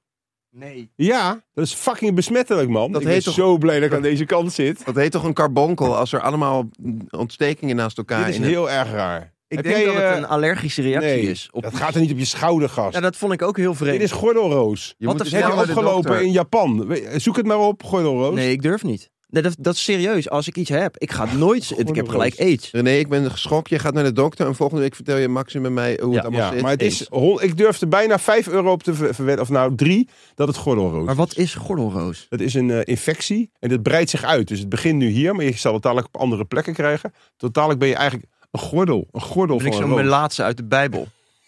D: Nee.
B: Ja, dat is fucking besmettelijk, man.
C: Dat
B: ik ben
C: heet toch-
B: zo blij dat ik aan deze kant zit.
C: Dat heet toch een karbonkel als er allemaal ontstekingen naast elkaar
B: Dit is
C: in een-
B: heel erg raar.
D: Ik
B: Heb
D: denk
B: jij,
D: dat het
B: eh,
D: een allergische reactie
B: nee,
D: is. Op...
B: Dat gaat er niet op je schouder, gast.
D: Ja, dat vond ik ook heel
B: Dit
D: vreemd.
B: is gordelroos.
C: Je
D: Wat
C: moet
D: de
C: dus
B: Net
D: snel
C: snel naar de
B: opgelopen
C: dokter.
B: in Japan. We- Zoek het maar op, gordelroos.
D: Nee, ik durf niet. Nee, dat, dat is serieus. Als ik iets heb, ik
B: Ah,
D: ga het nooit... ik heb gelijk aids.
C: René, ik ben geschokt. Je gaat naar de dokter en volgende week vertel je Maxim en mij hoe
D: Ja,
C: het allemaal
B: Ja,
C: zit.
B: maar het is, hon- ik durf er bijna 5 euro op te ver- verwetten, of nou 3, dat het gordelroos
D: Maar wat is gordelroos?
B: Dat is een eh, infectie en dat breidt zich uit. Dus het begint nu hier, maar je zal het dadelijk op andere plekken krijgen. Tot dadelijk ben je eigenlijk een gordel. Een gordel
D: Ben ik
B: van een
D: zo'n
B: roos.
D: melaatse uit de Bijbel?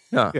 D: Ja.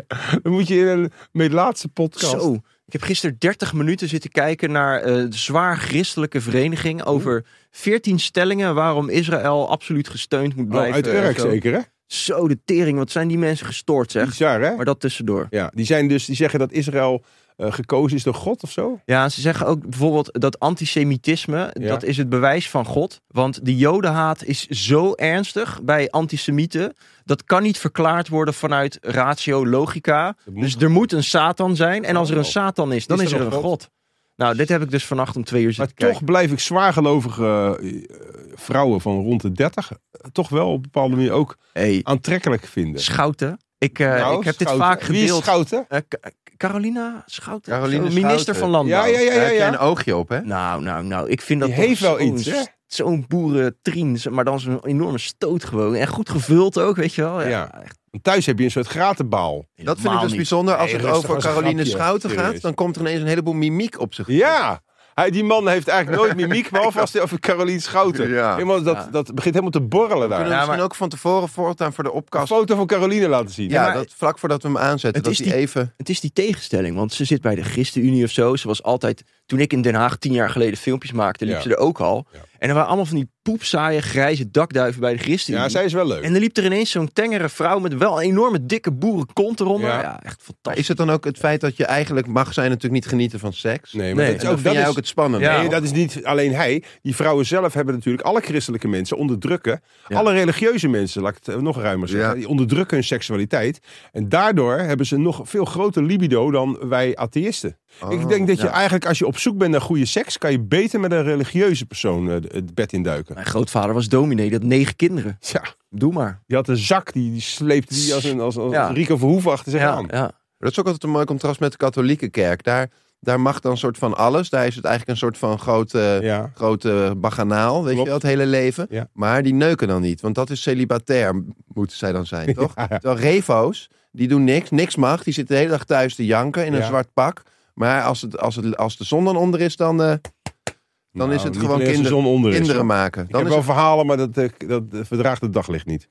B: Dan moet je in een melaatse podcast.
D: Zo. Ik heb gisteren 30 minuten zitten kijken naar eh, de zwaar christelijke vereniging over 14 stellingen waarom Israël absoluut gesteund moet
B: Oh,
D: blijven.
B: uit
D: en
B: Urk
D: zo.
B: zeker, hè?
D: Zo de tering, wat zijn die mensen gestoord zeg.
B: Bizar, hè?
D: Maar dat tussendoor.
B: Ja, die, zijn dus, die zeggen dat Israël eh, gekozen is door God of zo.
D: Ja, ze zeggen ook bijvoorbeeld dat antisemitisme,
B: Ja.
D: dat is het bewijs van God. Want de jodenhaat is zo ernstig bij antisemieten. Dat kan niet verklaard worden vanuit ratio logica.
B: Dat moet-
D: Dus er moet een Satan zijn. En als
B: Oh.
D: er een Satan is, dan is er een
B: God.
D: God. Nou, dit heb ik dus vannacht om twee uur
B: Maar
D: zitten kijken.
B: toch blijf ik zwaargelovige eh, vrouwen van rond de 30 eh, toch wel op een bepaalde manier ook
D: Hey,
B: aantrekkelijk vinden.
D: Schouten. Ik, eh,
B: Nou,
D: ik heb dit
B: Schouten.
D: vaak
B: Wie is
D: gedeeld.
B: Schouten?
D: Eh, Ka- Carolina Schouten?
C: Carolina
D: Zo, minister
C: Schouten.
D: van Landbouw.
B: Ja, ja, ja,
C: Daar
B: ja.
C: heb
B: ja.
C: jij een oogje op, hè?
D: Nou, nou, nou. Ik vind dat
B: Die
D: toch
B: heeft wel
D: zo'n
B: iets, hè?
D: st- Zo'n boerentrien, zo- maar dan zo'n enorme stoot gewoon. En goed gevuld ook, weet je wel.
B: Ja.
D: echt
B: Want thuis heb je een soort gratenbaal.
C: Dat vind ik
D: helemaal
C: dus
D: niet.
C: bijzonder. Als
B: Nee,
C: het
B: rustig,
C: over
B: was een
C: Caroline
B: grapje.
C: Schouten
B: Serieus.
C: gaat, dan komt er ineens een heleboel mimiek op zich.
B: Ja, hij, die man heeft eigenlijk nooit mimiek, behalve als hij over Carolien Schouten.
C: Ja.
B: Helemaal, dat,
D: Ja.
B: dat begint helemaal te borrelen
C: Kunnen
B: daar.
C: we
D: Ja,
C: misschien
D: maar-
C: ook van tevoren voortaan voor de
B: Een
C: opkast...
B: foto van Caroline laten zien.
C: Ja,
D: Ja, maar-
C: dat, vlak voordat we hem aanzetten,
D: Het
C: dat
D: is
C: hij
D: die-
C: even...
D: Het is die tegenstelling, want ze zit bij de ChristenUnie of zo. Ze was altijd, toen ik in Den Haag tien jaar geleden filmpjes maakte, liep
B: Ja.
D: ze er ook al.
B: Ja.
D: En En er waren allemaal van die poepsaaie grijze dakduiven bij de christen.
B: Ja, zij is wel leuk.
D: En er liep er ineens zo'n tengere vrouw met wel een enorme dikke boerenkont eronder.
B: Ja.
D: Ja, echt
C: Maar
D: fantastisch.
C: is het dan ook het feit dat je eigenlijk mag zijn natuurlijk niet genieten van seks?
B: Nee, maar dat
D: Nee.
C: En
B: is
C: dat
B: ook,
C: vind
B: dat
C: jij
B: is,
C: ook het spannende.
D: Ja.
B: Nee, dat is niet alleen hij. Die vrouwen zelf hebben natuurlijk alle christelijke mensen onderdrukken.
C: Ja.
B: Alle religieuze mensen, laat ik het eh, nog ruimer zeggen.
C: Ja.
B: Die onderdrukken hun seksualiteit. En daardoor hebben ze een nog veel groter libido dan wij atheïsten.
C: Oh,
B: ik denk dat je
C: ja.
B: eigenlijk als je op zoek bent naar goede seks... kan je beter met een religieuze persoon eh, het bed induiken.
D: Mijn grootvader was dominee, die had negen kinderen.
B: Ja,
D: Doe maar.
B: die had een zak, die, die sleepte die als, een, als, als
D: Ja.
B: Rico Verhoeven achter zich aan.
D: ja.
C: Maar Dat is ook altijd een mooi contrast met de katholieke kerk. Daar, daar mag dan een soort van alles. Daar is het eigenlijk een soort van grote,
B: Ja.
C: grote baganaal, weet
B: Klopt.
C: je wel, het hele leven.
B: Ja.
C: Maar die neuken dan niet, want dat is celibatair, m- moeten zij dan zijn, toch? Terwijl revo's, die doen niks, niks mag. Die zitten de hele dag thuis te janken in een
B: Ja.
C: zwart pak. Maar als, het, als, het, als de zon dan onder is, dan, eh, dan
B: Nou,
C: is het
B: niet
C: gewoon
B: alleen als de
C: kinder,
B: zon onder is.
C: kinderen maken.
B: Ik heb
C: Dan is
B: wel
C: het
B: verhalen, maar dat, eh, dat eh, verdraagt het daglicht niet.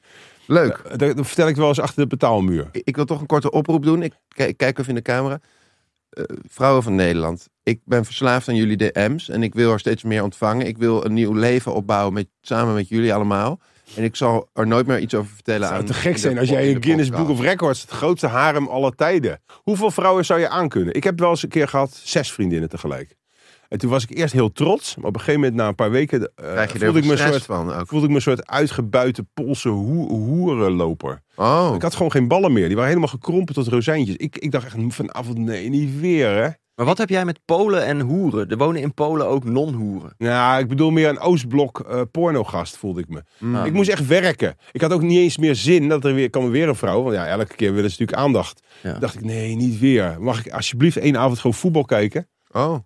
C: leuk.
B: Dat, dat vertel ik wel eens achter de betaalmuur.
C: Ik ik wil toch een korte oproep doen. Ik kijk, kijk even in de camera. Eh, vrouwen van Nederland, ik ben verslaafd aan jullie DM's en ik wil er steeds meer ontvangen. Ik wil een nieuw leven opbouwen met, samen met jullie allemaal. En ik zal er nooit meer iets over vertellen.
B: Het
C: aan
B: zou te gek
C: de-
B: zijn als jij
C: in
B: in
C: de
B: Guinness Book
C: podcast.
B: of Records het grootste harem aller tijden. Hoeveel vrouwen zou je aankunnen? Ik heb wel eens een keer gehad zes vriendinnen tegelijk. En toen was ik eerst heel trots, maar op een gegeven moment na een paar weken eh,
C: Krijg je er
B: voelde, ik me een
C: stress
B: soort,
C: van ook.
B: voelde ik me een soort uitgebuiten Poolse hoe- hoerenloper.
C: Oh,
B: Ik had gewoon geen ballen meer. Die waren helemaal gekrompen tot rozijntjes. Ik, ik dacht echt vanavond, nee, niet weer hè.
D: Maar wat heb jij met Polen en hoeren? Er wonen in Polen ook non-hoeren.
B: Nou, ik bedoel meer een Oostblok eh, pornogast voelde ik me.
C: Mm.
B: Ik moest echt werken. Ik had ook niet eens meer zin dat er weer kwam weer een vrouw. Want ja, elke keer willen ze natuurlijk aandacht.
D: Ja.
B: Dacht ik, nee, niet weer. Mag ik alsjeblieft één avond gewoon voetbal kijken?
C: oh.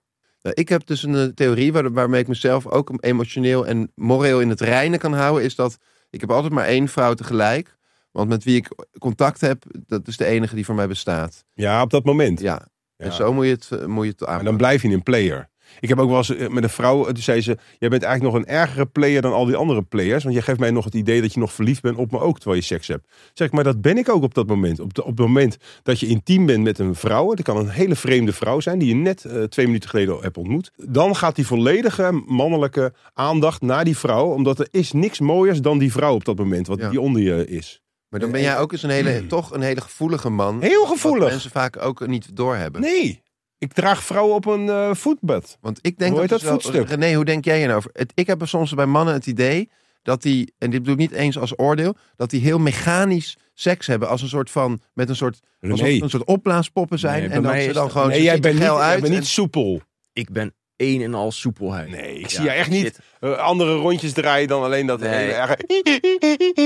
C: Nou, Ik heb dus een eh, theorie waar, waarmee ik mezelf ook emotioneel en moreel in het reinen kan houden. Is dat ik heb altijd maar één vrouw tegelijk. Want met wie ik contact heb, dat is de enige die voor mij bestaat.
B: Ja, op dat moment.
C: Ja,
B: Ja.
C: En zo moet je het, eh, moet je het
B: Maar
C: aanpakken.
B: dan blijf je een player. Ik heb ook wel eens eh, met een vrouw, eh, toen zei ze... Jij bent eigenlijk nog een ergere player dan al die andere players. Want jij geeft mij nog het idee dat je nog verliefd bent op me ook, terwijl je seks hebt. Zeg ik, maar dat ben ik ook op dat moment. Op, de- op het moment dat je intiem bent met een vrouw... dat kan een hele vreemde vrouw zijn die je net eh, twee minuten geleden al hebt ontmoet. Dan gaat die volledige mannelijke aandacht naar die vrouw. Omdat er is niks mooiers dan die vrouw op dat moment, wat
C: Ja.
B: die onder je is.
C: Maar dan ben jij ook eens een hele, toch een hele gevoelige man.
B: Hmm. Heel
C: Wat
B: gevoelig.
C: mensen vaak ook niet doorhebben.
B: Nee, ik draag vrouwen op een eh, voetbed.
C: Want ik denk
B: Hoe heet
C: dat,
B: dat
C: is wel-
B: voetstuk?
C: René, hoe denk jij hierover? Het, ik heb soms bij mannen het idee dat die, en dit bedoel ik niet eens als oordeel, dat die heel mechanisch seks hebben. Als een soort van, met een soort, alsof het
B: René.
C: een soort opblaaspoppen zijn.
D: Nee, bij
C: en dat
D: mij
C: ze
D: is
C: dan
D: dat-
C: gewoon,
B: Nee,
C: ze
B: jij
C: ziet er
B: bent niet,
C: geil
B: jij
C: uit.
B: bent
C: en-
B: niet soepel.
D: Ik ben één en al soepelheid.
B: Nee, ik
D: Ja,
B: zie je echt niet
D: shit.
B: eh, andere rondjes draaien dan alleen dat
D: Nee.
B: hele erge...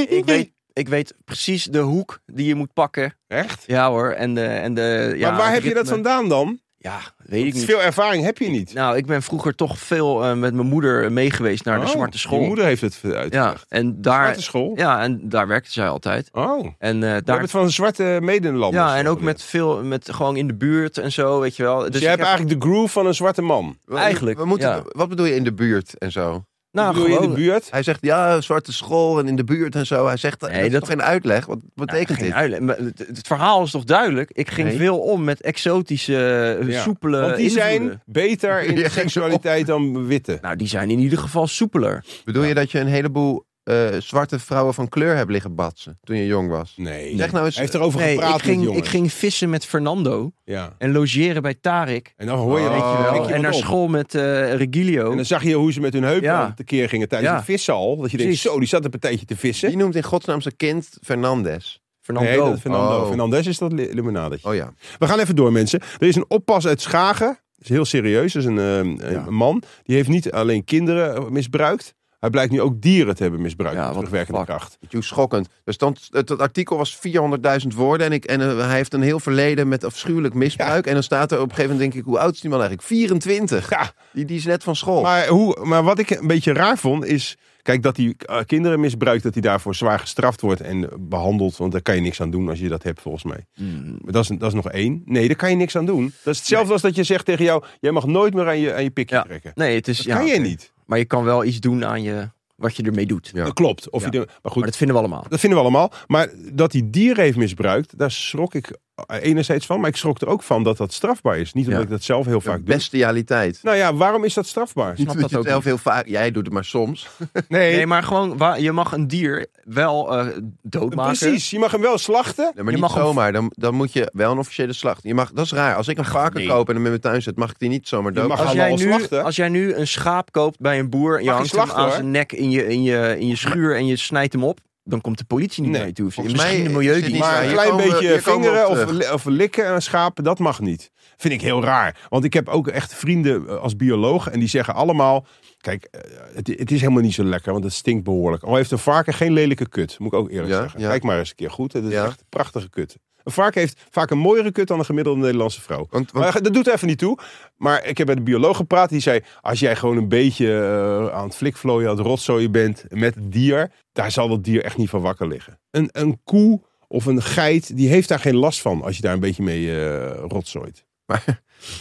D: Ik weet, ik weet precies de hoek die je moet pakken.
B: Echt?
D: Ja hoor. En de, en de, ja,
B: maar waar heb je
D: ritme.
B: dat vandaan dan?
D: Ja, weet ik niet.
B: Veel ervaring heb je niet.
D: Nou, ik ben vroeger toch veel eh, met mijn moeder meegeweest naar de
B: Oh,
D: zwarte
B: Je
D: school.
B: moeder heeft het uit.
D: Ja, en daar,
B: Zwarte school?
D: ja, en daar werkte zij altijd.
B: Oh, we
D: En eh, daar
B: hebben het van zwarte medelanders.
D: Ja, en ook
B: geleerd.
D: met veel, met gewoon in de buurt en zo, weet je wel. Dus,
B: Dus jij
D: ik
B: hebt
D: heb-
B: eigenlijk de groove van een zwarte man.
C: we-
D: eigenlijk,
C: we moeten,
D: ja.
C: Wat bedoel je in de buurt en zo?
D: nou,
B: Doe je in
D: gewoon,
B: de buurt?
C: Hij zegt, ja, zwarte school en in de buurt en zo. Hij zegt, dat,
D: Nee,
C: dat is
D: dat-
C: toch geen uitleg? Wat
D: Nou,
C: betekent
D: geen
C: dit?
D: uitleg, maar het, het verhaal is toch duidelijk? Ik ging
C: Nee.
D: veel om met exotische, eh,
B: Ja.
D: soepele
B: Want die zijn
D: invloeden.
B: beter in
C: Ja.
B: seksualiteit dan witte.
D: Nou, die zijn in ieder geval soepeler.
C: Bedoel je dat je een heleboel eh, zwarte vrouwen van kleur hebt liggen batsen toen je jong was?
B: Nee.
C: Zeg nou eens-
B: Hij heeft erover
D: Nee,
B: gepraat
D: ik ging,
B: met jongens.
D: ik ging vissen met Fernando
B: Ja.
D: en logeren bij Tarik.
B: En dan hoor je
C: Oh.
B: dat je
C: Weet
B: wel.
C: je
D: en naar school met eh Regilio.
B: En dan zag je hoe ze met hun heupen
D: Ja.
B: aan het keer gingen tijdens
D: Ja.
B: het vissen al. Dat je denkt,
D: Precies.
B: zo, die zat een partijtje te vissen.
C: Die noemt in godsnaam zijn kind Fernandes.
D: Fernando.
B: Nee, dat Fernando.
C: Oh.
B: Fernandez is dat li- limonadetje.
C: Oh ja.
B: We gaan even door, mensen. Er is een oppas uit Schagen. Dat is heel serieus. Dat is een, eh, een
D: Ja.
B: man. Die heeft niet alleen kinderen eh, misbruikt. Hij blijkt nu ook dieren te hebben misbruikt.
D: Ja,
B: met
D: what the
B: terugwerkende
D: fuck.
B: kracht.
C: Weet je Hoe schokkend. Er stond, het, het artikel was 400.000 woorden en, ik, en eh, hij heeft een heel verleden met afschuwelijk misbruik. En dan staat er op een gegeven moment, denk ik, hoe oud is die man eigenlijk? 24.
B: Ja.
C: Die, die is net van school.
B: Maar, hoe, maar wat ik een beetje raar vond is... Kijk, dat hij eh, kinderen misbruikt, dat hij daarvoor zwaar gestraft wordt en behandeld. Want daar kan je niks aan doen als je dat hebt, volgens mij.
D: Hmm.
B: Maar dat is, dat is nog één. Nee, daar kan je niks aan doen. Dat is hetzelfde als dat je zegt tegen jou... jij mag nooit meer aan je, aan je pikje
D: Ja.
B: trekken.
D: Nee, het is...
B: Dat
D: ja,
B: kan je
D: oké.
B: niet.
D: Maar je kan wel iets doen aan je, wat je ermee doet.
C: Ja.
B: Dat klopt. Of
D: Ja.
B: je de- maar goed,
D: Maar dat vinden we allemaal.
B: Dat vinden we allemaal. Maar dat hij dieren heeft misbruikt, daar schrok ik eh, enerzijds van, maar ik schrok er ook van dat dat strafbaar is. Niet omdat
C: Ja.
B: ik dat zelf heel vaak doe.
C: Bestialiteit.
B: Nou ja, waarom is dat strafbaar?
D: snap
C: Niet
D: dat
C: dat je het
D: ook
C: zelf heel vaak. Jij doet het maar soms.
B: Nee,
D: Nee, maar gewoon, wa- je mag een dier wel eh, doodmaken.
B: precies. Je mag hem wel slachten.
C: Nee, maar
D: Je
C: niet
D: mag hem-
C: zomaar. Dan, dan moet je wel een officiële slacht. Je mag, dat is raar. Als ik een varken
B: Nee.
C: koop en hem in mijn tuin zet, mag ik die niet zomaar
B: Je
C: dood.
B: mag-
D: Als
B: Gaan
D: jij,
B: we al
D: nu,
B: slachten?
D: als jij nu een schaap koopt bij een boer en je
B: Mag je
D: hangt hem
B: slachten,
D: aan
B: hoor.
D: zijn nek in je, in, je, in je schuur en je snijdt hem op, dan komt de politie niet
B: Nee,
D: naar je toe. Of
C: volgens
D: Misschien
C: mij
D: de
C: is dit niet
D: milieudienst.
B: Maar
C: waar. Ja,
B: een
C: hier
B: klein
C: komen we-
B: beetje
C: hier komen we
B: vingeren
C: op
B: of,
C: terug.
B: li- of likken aan een schaap, dat mag niet. Vind ik heel raar. Want ik heb ook echt vrienden eh, als bioloog en die zeggen allemaal... Kijk, eh, het, het is helemaal niet zo lekker, want het stinkt behoorlijk. Al heeft een varken geen lelijke kut, moet ik ook eerlijk
C: Ja,
B: zeggen.
C: ja.
B: Kijk maar eens een keer goed, het is
C: Ja.
B: echt een prachtige kut. Een varken heeft vaak een mooiere kut dan een gemiddelde Nederlandse vrouw.
C: Want, want
B: Maar dat doet er even niet toe. Maar ik heb met een bioloog gepraat. Die zei, als jij gewoon een beetje eh, aan het flikvlooien, aan het rotzooien bent met het dier. Daar zal dat dier echt niet van wakker liggen. Een, een koe of een geit, die heeft daar geen last van als je daar een beetje mee eh rotzooit.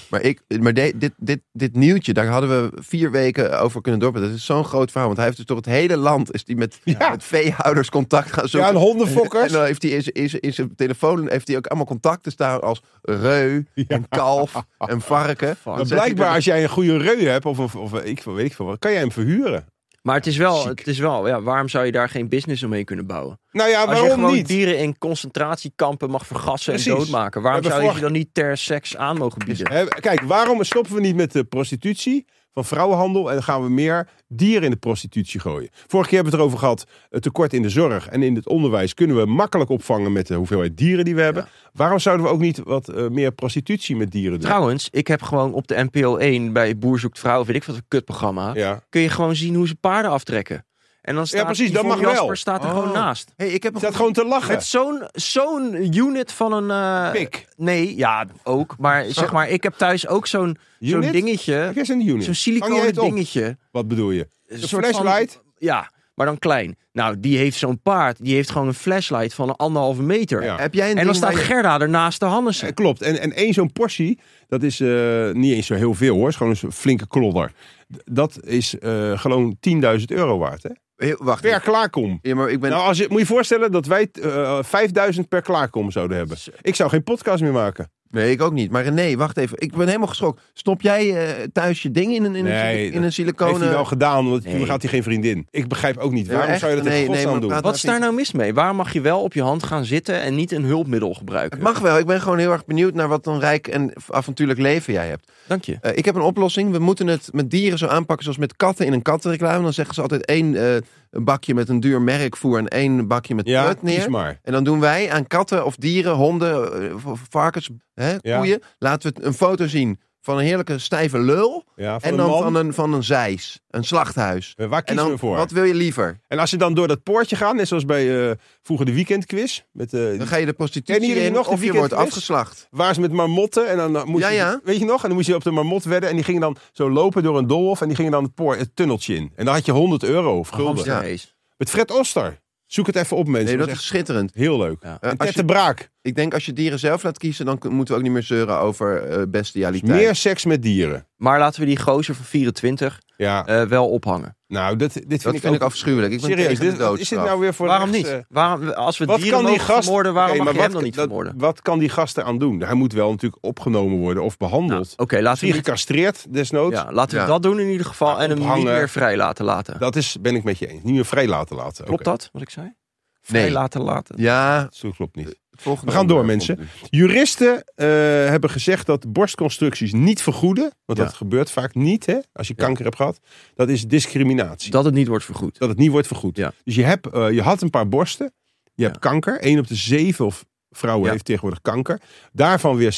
C: Maar, ik, maar de- dit, dit, dit nieuwtje, daar hadden we vier weken over kunnen doorpraten. Dat is zo'n groot verhaal. Want hij heeft dus door het hele land is die met,
B: Ja.
C: met veehouders contact gaan
B: Ja,
C: zoeken.
B: en hondenfokkers.
C: en dan heeft hij in zijn- in zijn- in zijn telefoon heeft hij ook allemaal contacten staan als reu en kalf en varken.
D: Fuck.
C: Dan zet hij
B: Blijkbaar
C: er-
B: als jij een goede reu hebt, of, of, of ik, veel- weet ik veel wat, kan jij hem verhuren.
D: Maar het is wel,
B: Ziek.
D: het is wel ja, waarom zou je daar geen business omheen kunnen bouwen?
B: Nou ja,
D: Als je
B: waarom
D: gewoon
B: niet?
D: dieren in concentratiekampen mag vergassen
B: Precies.
D: en doodmaken, waarom
B: We hebben Dus-
D: zou je ze
B: vorig-
D: dan niet ter seks aan mogen bieden?
B: Hè, Kijk, waarom stoppen we niet met de prostitutie van vrouwenhandel en dan gaan we meer dieren in de prostitutie gooien? Vorige keer hebben we het erover gehad, het tekort in de zorg en in het onderwijs kunnen we makkelijk opvangen met de hoeveelheid dieren die we hebben. Waarom zouden we ook niet wat eh, meer prostitutie met dieren doen?
D: Trouwens, ik heb gewoon op de NPO 1 bij Boer Zoekt Vrouw, weet ik wat een kutprogramma,
B: Ja.
D: kun je gewoon zien hoe ze paarden aftrekken. En dan staat
B: precies, dat
D: Yvonne
B: mag wel.
D: Jasper staat er gewoon
C: Oh.
D: naast.
C: Hey, ik heb een
B: Staat gewoon te lachen.
D: Met zo'n zo'n unit van een... eh,
B: Pik.
D: Nee, ja, ook. Maar zeg maar, ik heb thuis ook zo'n zo'n
B: Unit?
D: dingetje.
B: Kijk eens in de unit.
D: eh, Zo'n
B: Hang jij
D: siliconen
B: het op?
D: dingetje.
B: Wat bedoel je?
D: Een
B: Een
D: soort van-
B: flashlight?
D: ja, maar dan klein. Nou, die heeft zo'n paard. Die heeft gewoon een flashlight van een anderhalve meter.
B: Ja.
C: Heb jij een
D: En dan
C: ding
D: staat
C: waar je-
D: Gerda ernaast de Hannes.
B: Eh, klopt. En, en één zo'n portie, dat is eh, niet eens zo heel veel hoor. Het is gewoon een soort flinke klodder. D- Dat is eh, gewoon 10.000 euro waard. Hè?
C: Heel- Wacht.
B: Per klaarkom.
C: Ja, maar ik ben...
B: Nou, als je, moet je voorstellen dat wij eh, 5000 per klaarkom zouden hebben. Ik zou geen podcast meer maken.
C: Nee, ik ook niet. Maar René, wacht even. Ik ben helemaal geschokt. Stop jij eh, thuis je ding in een, in een,
B: Nee,
C: sili- in
B: dat
C: een
B: Heeft hij
C: siliconen...
B: wel gedaan, want
D: Nee.
B: toen gaat hij geen vriendin. Ik begrijp ook niet.
C: Ja,
B: Waarom
C: echt?
B: zou je dat
C: Nee,
B: in
C: nee,
B: godsnaam
C: maar
B: doen?
C: praat-
D: Wat is daar nou mis mee? Waar mag je wel op je hand gaan zitten en niet een hulpmiddel gebruiken?
C: Het mag wel. Ik ben gewoon heel erg benieuwd naar wat een rijk en avontuurlijk leven jij hebt.
D: Dank je.
C: Eh, ik heb een oplossing. We moeten het met dieren zo aanpakken zoals met katten in een kattenreclame. Dan zeggen ze altijd één eh, een bakje met een duur merkvoer en één bakje met
B: Ja,
C: prut
B: kies
C: neer.
B: maar.
C: En dan doen wij aan katten of dieren, honden, eh, of- of varkens, hè,
B: Ja.
C: koeien. Laten we een foto zien van een heerlijke stijve lul.
B: Ja, van
C: en
B: een
C: dan
B: man.
C: van een, van een zeis, een slachthuis.
B: Eh, Waar
C: En
B: kiezen
C: dan,
B: we voor?
C: wat wil je liever?
B: En als ze dan door dat poortje gaan, net zoals bij eh, vroeger de weekendquiz. Met, eh,
C: Dan ga je de
B: Kennen
C: prostitutie
B: jullie
C: in
B: nog de
C: of je wordt
B: weekendquiz?
C: afgeslacht.
B: waar ze met marmotten. En dan eh, moest
C: Ja,
B: je-
C: ja.
B: weet je nog? En dan moest je op de marmot wedden. En die gingen dan zo lopen door een doolhof. En die gingen dan het, poort, het tunneltje in. En dan had je 100 euro of gulden.
D: Hamster race.
B: Met Fred Oster. Zoek het even op, mensen.
C: Nee,
B: dat is
C: dat is
B: echt
C: schitterend.
B: heel leuk.
D: Ja.
C: Eh,
B: En
C: als
B: Ted de
C: je-
B: Braak.
C: Ik denk als je dieren zelf laat kiezen, dan k- moeten we ook niet meer zeuren over eh, bestialiteit.
B: Meer seks met dieren.
D: Maar laten we die gozer van 24
B: Ja,
D: eh, wel ophangen.
B: nou, dat, dit vind
C: Dat
B: ik
C: vind ik
B: ook...
C: afschuwelijk. Ik ben
B: serieus,
C: tegen de
B: dit, wat is
C: doodstraf.
B: dit nou weer voor...
D: waarom
B: rechts,
D: niet?
B: eh,
D: Waarom, als we
B: wat
D: dieren
B: kan die
D: mogen
B: gast...
D: vermoorden, waarom
B: Oké,
D: mag je
B: maar
D: hem
B: wat,
D: dan niet
B: dat-
D: vermoorden?
B: Wat kan die gast eraan doen? Hij moet wel natuurlijk opgenomen worden of
D: Nou,
B: behandeld.
D: Oké, laten we
B: Misschien
D: niet
B: gecastreerd, desnoods.
D: Ja, laten we
C: Ja.
D: dat doen in ieder geval. en hem niet
B: ophangen.
D: meer vrij laten laten.
B: Dat is, ben ik met je eens. Niet meer vrij laten laten.
D: Klopt
B: Oké.
D: dat, wat ik zei? Vrij
C: Nee.
D: laten laten.
C: Ja,
B: Zo klopt niet.
C: volgende
B: We gaan door,
C: onderwerp
B: mensen.
C: komt nu.
B: Juristen eh, hebben gezegd dat borstconstructies niet vergoeden. Want
C: Ja.
B: dat gebeurt vaak niet, hè? Als je kanker hebt gehad. Dat is discriminatie.
D: Dat het niet wordt vergoed.
B: dat het niet wordt vergoed.
D: Ja.
B: Dus je, hebt, eh, je had een paar borsten. Je hebt kanker. 1 op de zeven of vrouwen
D: Ja.
B: heeft tegenwoordig kanker. Daarvan weer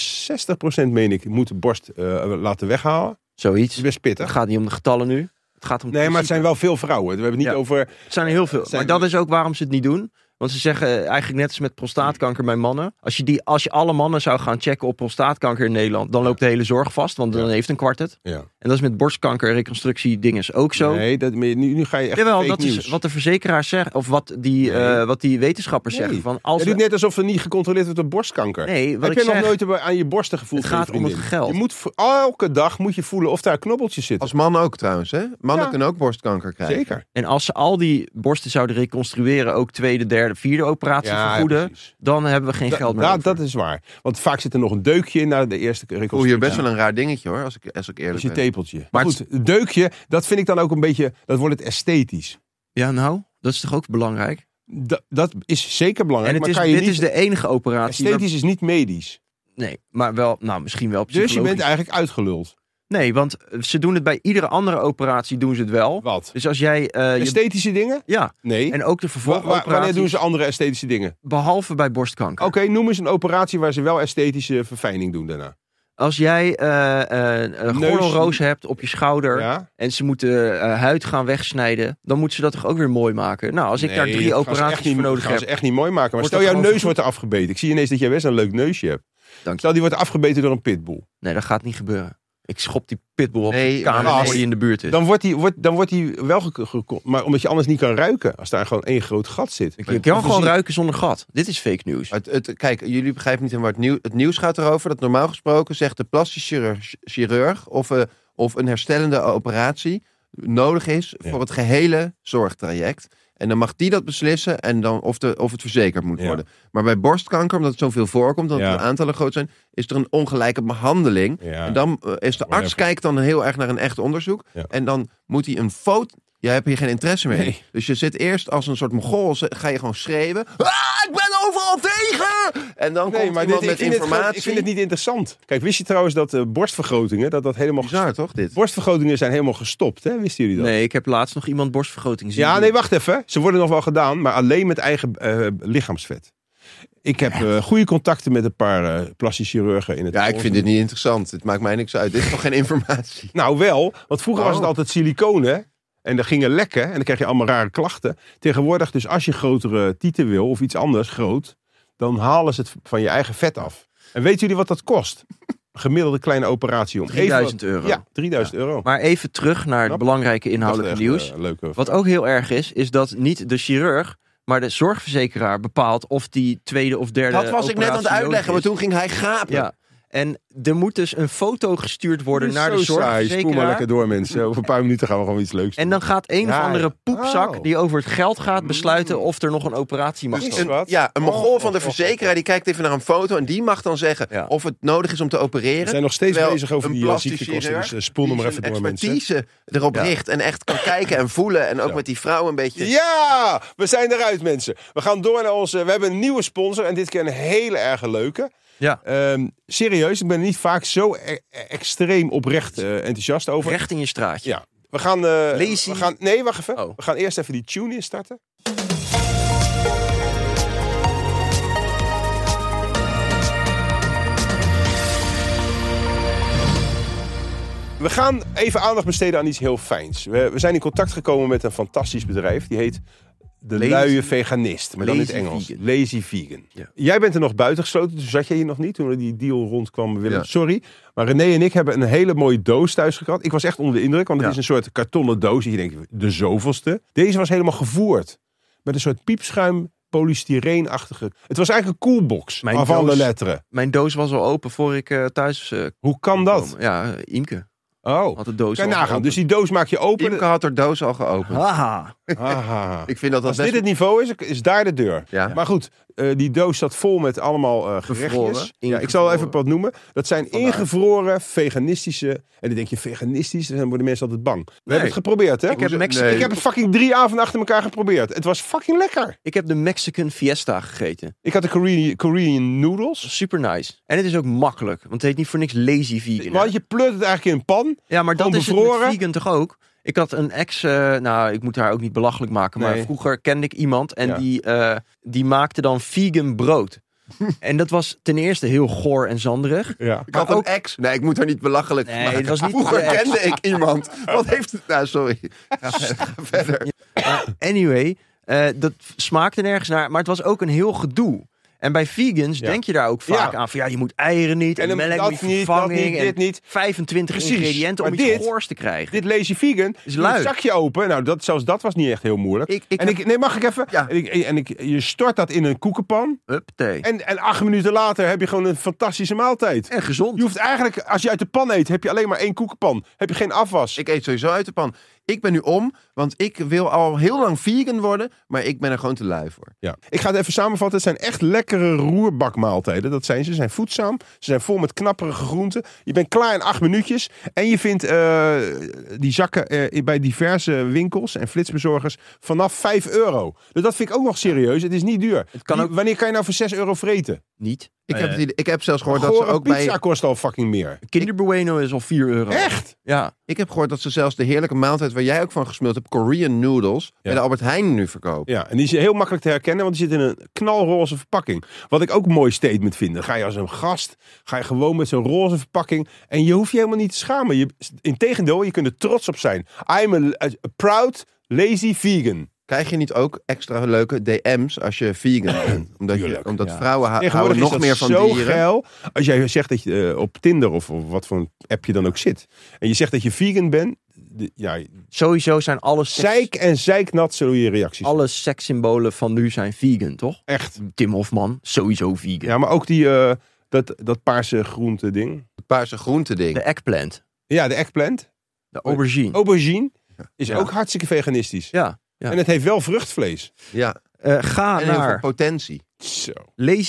B: 60% meen ik moet de borst eh, laten weghalen. Dat
D: Zoiets.
B: is best
D: Het
B: pittig.
D: gaat niet om de getallen nu. Het gaat om
B: Nee, maar het zijn
D: principe.
B: wel veel vrouwen. We hebben het niet
D: Ja.
B: over...
D: Het zijn er heel veel.
B: het zijn-
D: Maar dat is ook waarom ze het niet doen. Want ze zeggen eh, eigenlijk net als met prostaatkanker bij mannen. Als je, die, als je alle mannen zou gaan checken op prostaatkanker in Nederland, dan loopt de hele zorg vast. Want dan heeft een kwart het.
B: Ja.
D: En dat is met borstkanker reconstructie dinges ook zo.
B: Nee, dat, maar nu, nu ga je echt
D: Jawel,
B: fake
D: dat
B: nieuws.
D: is wat de verzekeraars zeggen. Of wat die,
B: Nee.
D: eh, wat die wetenschappers
B: Nee.
D: zeggen. Van als
B: Je doet
D: we-
B: net alsof er niet gecontroleerd wordt op borstkanker.
D: nee, wat
B: Heb
D: ik
B: jij
D: zeg,
B: nog nooit aan je borsten gevoeld?
D: Het
B: van je
D: gaat om het
B: vriendin?
D: geld.
B: Je moet voor- elke dag moet je voelen of daar knobbeltjes zitten.
C: Als man ook trouwens, hè? Mannen
B: Ja.
C: kunnen ook borstkanker krijgen.
B: Zeker.
D: En als ze al die borsten zouden reconstrueren, ook tweede, derde, vierde operatie vergoeden,
B: precies.
D: dan hebben we geen
B: Da-
D: geld meer.
B: da-
D: over.
B: dat is waar. Want vaak zit er nog een deukje in na de eerste
C: Ik voel hier
B: reconstructie.
C: best wel een raar dingetje hoor, als ik, als ik
B: Dat is
C: eerlijk
B: je
C: ben.
B: tepeltje. Maar
C: Maar
B: goed, het deukje, dat vind ik dan ook een beetje, dat wordt het esthetisch.
D: Ja, nou, dat is toch ook belangrijk?
B: Dat, dat is zeker belangrijk,
D: en het
B: maar
D: is,
B: kan je
D: dit
B: niet...
D: is de enige operatie. waar-
B: esthetisch is niet medisch.
D: nee, maar wel, nou, misschien wel
B: Dus je
D: psychologisch.
B: bent eigenlijk uitgeluld.
D: Nee, want eh, ze doen het bij iedere andere operatie doen ze het wel.
B: Wat?
D: Dus als jij... eh, je-
B: Esthetische dingen?
D: ja,
B: Nee.
D: en ook de
B: Wa- wa- wanneer doen
D: vervolgoperaties,
B: ze andere esthetische dingen?
D: behalve bij borstkanker.
B: Oké, noem eens een operatie waar ze wel esthetische verfijning doen daarna.
D: Als jij eh, eh, een
B: Neus-
D: gordelroos hebt op je schouder
B: Ja?
D: en ze moeten eh, huid gaan wegsnijden, dan moeten ze dat toch ook weer mooi maken? Nou, als ik daar
B: Nee,
D: drie
B: dat gaan ze echt
D: operaties
B: niet-
D: voor nodig
B: gaan
D: heb,
B: ze echt niet mooi maken. Maar
D: Wordt
B: stel,
D: dat
B: jouw
D: gewoon
B: neus
D: goed?
B: wordt er afgebeten. Ik zie ineens dat jij best een leuk neusje hebt.
D: Dank je.
B: Stel, die wordt afgebeten door een pitbull.
D: Nee, dat gaat niet gebeuren. Ik schop die pitbull op
C: Nee,
D: de kamer
B: maar-
D: voor die in de buurt is.
B: Dan wordt die, wordt, dan wordt die wel gek- gek- Maar omdat je anders niet kan ruiken. Als daar gewoon één groot gat zit.
D: ik kan gewoon ruiken zonder gat. Dit is fake news.
C: Het, het- kijk, jullie begrijpen niet helemaal het nieuws. Het nieuws gaat erover dat normaal gesproken zegt de plastisch chirurg, chirurg of, eh, of een herstellende operatie nodig is
B: Ja.
C: voor het gehele zorgtraject. En dan mag die dat beslissen en dan of, de, of het verzekerd moet
B: Ja.
C: worden. Maar bij borstkanker, omdat het zoveel voorkomt, omdat
B: Ja.
C: de aantallen groot zijn, is er een ongelijke behandeling.
B: Ja.
C: En dan eh, is de
B: Whatever.
C: arts kijkt dan heel erg naar een echt onderzoek.
B: Ja.
C: En dan moet hij een foto. Jij hebt hier geen interesse mee.
B: Nee.
C: Dus je zit eerst als een soort mogol, ze- ga je gewoon schreeuwen. Ah, ik ben overal tegen! En dan
B: Nee,
C: komt
B: maar dit,
C: iemand
B: ik,
C: met
B: vind het, gewoon-
C: informatie.
B: ik vind het niet interessant. Kijk, wist je trouwens dat eh, borstvergrotingen. Dat dat helemaal ges-
C: Bizar, toch, dit?
B: Borstvergrotingen zijn helemaal gestopt, hè? Wisten jullie dat?
D: Nee, ik heb laatst nog iemand borstvergroting zien.
B: Ja,
D: doen.
B: nee, wacht even. Ze worden nog wel gedaan, maar alleen met eigen eh, lichaamsvet. Ik heb eh, goede contacten met een paar eh plastisch chirurgen in het
C: Ja, ik
B: Oosten.
C: vind dit niet interessant. Het maakt mij niks uit. Dit is toch geen informatie?
B: Nou wel, want vroeger was het
C: Oh.
B: altijd siliconen. En daar gingen lekken en dan kreeg je allemaal rare klachten. Tegenwoordig dus als je grotere tieten wil of iets anders groot... dan halen ze het van je eigen vet af. En weten jullie wat dat kost? Een gemiddelde kleine operatie om... even-
D: 3000 euro.
B: Ja, 3000 euro.
D: Maar even terug naar het
B: Knap.
D: belangrijke inhoudelijke
B: Inhoudelijk
D: nieuws.
B: eh, leuke...
D: Wat ook heel erg is, is dat niet de chirurg, maar de zorgverzekeraar bepaalt of die tweede of derde.
C: Dat was ik net aan het
D: operatie
C: uitleggen, maar
D: nodig
C: toen ging hij gapen.
D: is. Ja. En er moet dus een foto gestuurd worden
B: Dit is
D: naar de
B: zo saai. Spoel maar
D: zorgverzekeraar.
B: lekker door, mensen. Over een paar minuten gaan we gewoon iets leuks doen.
D: En dan gaat een
B: Ja,
D: of andere
B: ja.
D: poepzak
B: Oh. Mm.
D: die over het geld gaat besluiten of er nog een operatie mag
B: Dus
D: komen.
B: een- Wat?
C: Ja, een mogol
B: Oh,
C: van de
B: oh, oh,
C: verzekeraar die kijkt even naar een foto en die mag dan zeggen
D: Ja.
C: of het nodig is om te opereren.
B: We zijn nog steeds
C: Terwijl
B: bezig over
C: een
B: die eh,
C: plastisch
B: ziektekosten.
C: chirurg
B: Dus eh, spoel hem
C: die
B: maar even
C: zijn
B: door, mensen.
C: expertise erop
D: Ja.
C: richt en echt kan kijken en voelen en ook
B: Zo.
C: met die vrouw een beetje.
B: Ja, we zijn eruit, mensen. We gaan door naar onze... We hebben een nieuwe sponsor en dit keer een hele erg leuke.
D: Ja,
B: Ehm, serieus, ik ben er niet vaak zo e- e- extreem oprecht eh, enthousiast over.
D: recht in je straatje.
B: Ja. We gaan, eh,
D: Lazy.
B: we gaan... Nee, wacht even.
D: Oh.
B: We gaan eerst even die tune instarten. We gaan even aandacht besteden aan iets heel fijns. We, we zijn in contact gekomen met een fantastisch bedrijf. Die heet De
D: Lazy-
B: Luie Veganist. Maar dan in het
D: Lazy
B: Engels.
D: Vegan.
B: Lazy Vegan.
D: Ja.
B: Jij bent er nog buitengesloten. Dus zat jij hier nog niet toen die deal rondkwam. Willem.
C: Ja.
B: Sorry. Maar René en ik hebben een hele mooie doos thuis gekregen. Ik was echt onder de indruk. Want het
C: Ja.
B: is een soort kartonnen doos. Je denkt, de zoveelste. Deze was helemaal gevoerd. Met een soort piepschuim polystyreenachtige. Het was eigenlijk een coolbox.
D: Mijn
B: Van de
D: doos-
B: letteren.
D: Mijn doos was al open voor ik eh, thuis eh,
B: Hoe kan
D: kon
B: dat?
D: komen. Ja, eh, Imke
B: Oh.
D: had de doos
B: Kan je
D: al
B: nagaan.
D: open.
B: Dus die doos maak je open.
C: Imke had haar doos al geopend.
D: Haha.
B: Haha.
C: Ik vind dat dat
B: Als
C: best...
B: dit het niveau is, is daar de deur.
C: Ja.
B: Maar goed, eh, die doos zat vol met allemaal eh gerechtjes.
D: Bevroren,
B: Ja, ik zal even
D: ingevroren.
B: wat noemen. Dat zijn
D: Vandaar.
B: ingevroren veganistische... En dan denk je, veganistisch? Dan worden mensen altijd bang. We hebben het geprobeerd, hè?
D: Ik heb,
C: Hoezo-
D: Mexico,
C: nee.
B: Ik heb het fucking drie avonden achter elkaar geprobeerd. Het was fucking lekker.
D: ik heb de Mexican Fiesta gegeten.
B: Ik had de Korean, Korean noodles.
D: Super nice. En het is ook makkelijk, want het heet niet voor niks lazy vegan. hè?
B: Want je pleurt het eigenlijk in een pan.
D: Ja, maar dat
B: Gewoon
D: is het met
B: bevroren.
D: vegan toch ook? Ik had een ex, eh, nou ik moet haar ook niet belachelijk maken,
B: Nee.
D: maar vroeger kende ik iemand en
B: Ja.
D: die, eh, die maakte dan vegan brood. en dat was ten eerste heel goor en zanderig.
B: Ja.
C: Ik had
D: maar
C: een
D: ook-
C: ex. Nee, ik moet haar niet belachelijk
D: Nee,
C: maken.
D: het was niet
C: Vroeger
D: de ex.
C: kende ik iemand. Wat heeft het... Nou, sorry. Ga verder.
D: eh, Maar anyway, eh, dat smaakte nergens naar, maar het was ook een heel gedoe. En bij vegans
B: Ja.
D: denk je daar ook vaak
B: Ja.
D: aan van ja, je moet eieren niet en,
B: En dan
D: melk
B: dat
D: niet,
B: niet, dat
D: vervanging
B: niet,
D: en
B: dit niet.
D: 25
B: Precies.
D: ingrediënten om
B: Maar
D: iets
B: dit-
D: goors te krijgen.
B: Dit lazy vegan,
D: Is
B: is
D: lui.
B: een zakje open. Nou, dat, zelfs dat was niet echt heel moeilijk.
D: Ik- ik
B: en
D: heb-
B: ik, nee, mag ik even?
D: Ja.
B: En, ik, en ik, je stort dat in een koekenpan.
D: Uppatee. En,
B: En, en acht minuten later heb je gewoon een fantastische maaltijd.
D: gezond.
B: Je hoeft eigenlijk, als je uit de pan eet, heb je alleen maar één koekenpan. Heb je geen afwas.
C: Ik eet sowieso uit de pan. Ik ben nu om, want ik wil al heel lang vegan worden, maar ik ben er gewoon te lui voor.
B: Ja. Ik ga het even samenvatten. Het zijn echt lekkere roerbakmaaltijden. Dat zijn ze. Ze zijn voedzaam. Ze zijn vol met knapperige groenten. Je bent klaar in acht minuutjes. En je vindt eh, die zakken eh, bij diverse winkels en flitsbezorgers vanaf 5 euro. Dus dat vind ik ook nog serieus. Het is niet duur.
D: kan
B: Die-
D: ook-
B: Wanneer kan je nou voor 6 euro vreten?
D: Niet.
C: Ik, heb,
B: Eh,
C: het idee- ik heb zelfs gehoord dat ze
B: Gore
C: ook
B: pizza
C: bij...
B: kost al fucking meer.
D: Kinder Bueno is al 4 euro.
B: Echt?
D: Ja.
C: Ik heb gehoord dat ze zelfs de heerlijke maaltijd waar jij ook van gesmuld hebt, Korean noodles, bij de Albert Heijn nu verkopen.
B: Ja, en die is heel makkelijk te herkennen, want die zit in een knalroze verpakking. Wat ik ook een mooi statement vind. Dan ga je als een gast, ga je gewoon met zo'n roze verpakking. En je hoeft je helemaal niet te schamen. Je, integendeel, je kunt er trots op zijn. I'm a, a proud, lazy vegan.
C: Krijg je niet ook extra leuke DM's als je vegan bent? Omdat, je,
B: Tuurlijk,
C: omdat
D: ja.
C: vrouwen Ah, hou-
B: Tegenwoordig
C: houden
B: is
C: nog
B: dat
C: meer van
B: zo
C: dieren.
B: geil. Als jij zegt dat je eh, op Tinder of, of wat voor een app je dan ook zit. En je zegt dat je vegan bent. de- ja,
D: Sowieso zijn alle seks,
B: zeik en zeiknat zullen je reacties.
D: alle sekssymbolen van nu zijn vegan, toch?
B: Echt.
D: Tim Hofman, sowieso vegan.
B: Ja, maar ook die, eh, dat, dat paarse groente ding.
C: Het paarse groente ding.
D: De eggplant,
B: Ja, de eggplant. Oh.
D: de aubergine.
B: Aubergine is
D: Ja.
B: ook hartstikke veganistisch.
D: Ja. ja.
B: En het heeft wel vruchtvlees.
C: Ja,
D: Eh,
B: Ah,
D: ga
C: en heel veel
D: naar
C: potentie.
B: Zo.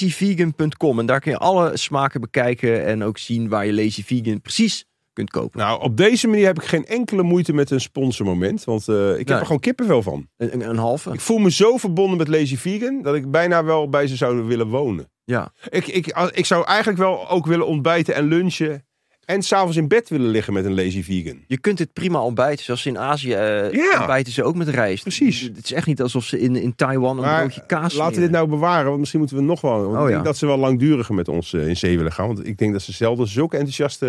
D: lazyvegan.com en daar kun je alle smaken bekijken en ook zien waar je Lazy Vegan precies kunt kopen.
B: Nou, op deze manier heb ik geen enkele moeite met een sponsormoment. Want eh, ik heb
D: Nee.
B: er gewoon kippenvel van.
D: Een, een, een halve.
B: Ik voel me zo verbonden met Lazy Vegan... dat ik bijna wel bij ze zou willen wonen.
D: Ja.
B: Ik, ik, al- ik zou eigenlijk wel ook willen ontbijten en lunchen... en s'avonds in bed willen liggen met een Lazy Vegan.
D: Je kunt dit prima ontbijten. Zoals ze in Azië eh
B: Ja.
D: ontbijten ze ook met rijst.
B: Precies.
D: Het is echt niet alsof ze in, in Taiwan een
B: Maar
D: broodje kaas
B: Laten we dit
D: smeren.
B: nou bewaren, want misschien moeten we nog wel... Want ik
D: Oh ja.
B: denk dat ze wel langduriger met ons eh, in zee willen gaan. Want ik denk dat ze zelden zulke enthousiaste...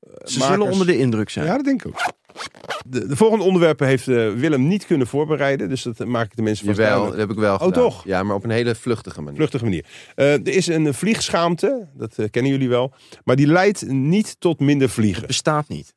B: eh,
D: Ze zullen
B: makers-
D: onder de indruk zijn.
B: Ja, dat denk ik ook. De, de volgende onderwerpen heeft eh, Willem niet kunnen voorbereiden. Dus dat eh, maak ik de mensen vast
C: Jawel, dat
B: duidelijk.
C: heb ik wel gedaan.
B: Oh, toch?
C: Ja, maar op een hele vluchtige manier.
B: Vluchtige manier. Eh, er is een eh, vliegschaamte, dat eh, kennen jullie wel. Maar die leidt niet tot minder vliegen.
D: bestaat niet.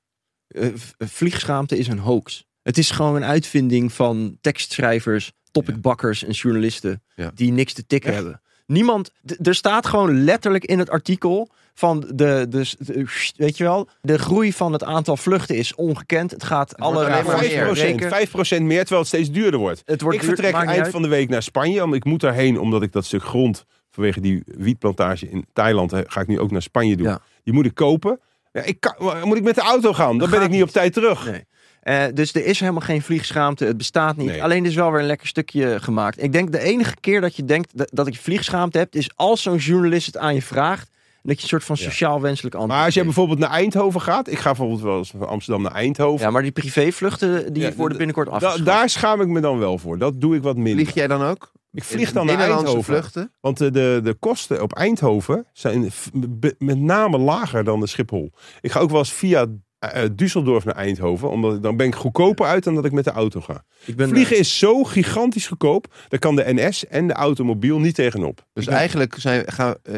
D: Eh, v- vliegschaamte is een hoax. Het is gewoon een uitvinding van tekstschrijvers, topicbakkers en journalisten
C: Ja.
D: die niks te tikken
B: Echt?
D: hebben. Niemand, d- er staat gewoon letterlijk in het artikel van de, de, s- de- weet je wel, de groei van het aantal vluchten is ongekend. Het gaat alle
C: alleen maar
D: records
B: 5%,
C: meer.
D: breken.
B: 5% meer, terwijl het steeds duurder wordt.
D: Het wordt
B: ik
D: duur-
B: vertrek
D: maakt niet
B: eind
D: uit.
B: van de week naar Spanje. Want ik moet daarheen omdat ik dat stuk grond vanwege die wietplantage in Thailand eh, ga ik nu ook naar Spanje doen.
D: Ja.
B: Die moet ik kopen. Ja, ik kan, moet ik met de auto gaan? Dan ben ik
D: gaat
B: niet op tijd terug.
D: Nee. Eh, dus er is helemaal geen vliegschaamte. Het bestaat niet.
B: Nee.
D: Alleen er is wel weer een lekker stukje gemaakt. Ik denk de enige keer dat je denkt dat, dat ik vliegschaamte heb, is als zo'n journalist het aan je vraagt. En dat je een soort van sociaal wenselijk antwoord
B: Maar als jij
D: geeft.
B: bijvoorbeeld naar Eindhoven gaat, ik ga bijvoorbeeld wel eens van Amsterdam naar Eindhoven.
D: Ja, maar die privévluchten die
B: Ja,
D: worden
B: d-
D: binnenkort
B: Da-
D: afgeschaft.
B: daar schaam ik me dan wel voor. Dat doe ik wat minder.
C: Vlieg jij dan ook?
B: ik vlieg dan naar
C: Nederlandse
B: Eindhoven.
C: vluchten?
B: Want eh, de, de kosten op Eindhoven zijn f- be- met name lager dan de Schiphol. Ik ga ook wel eens via eh, eh, Düsseldorf naar Eindhoven. Omdat ik- dan ben ik goedkoper uit dan dat ik met de auto ga.
D: ik ben, eh,
B: Vliegen is zo gigantisch goedkoop. Daar kan de NS en de automobiel niet tegenop.
C: Dus
B: Ik ben-
C: eigenlijk zijn gaan. eh,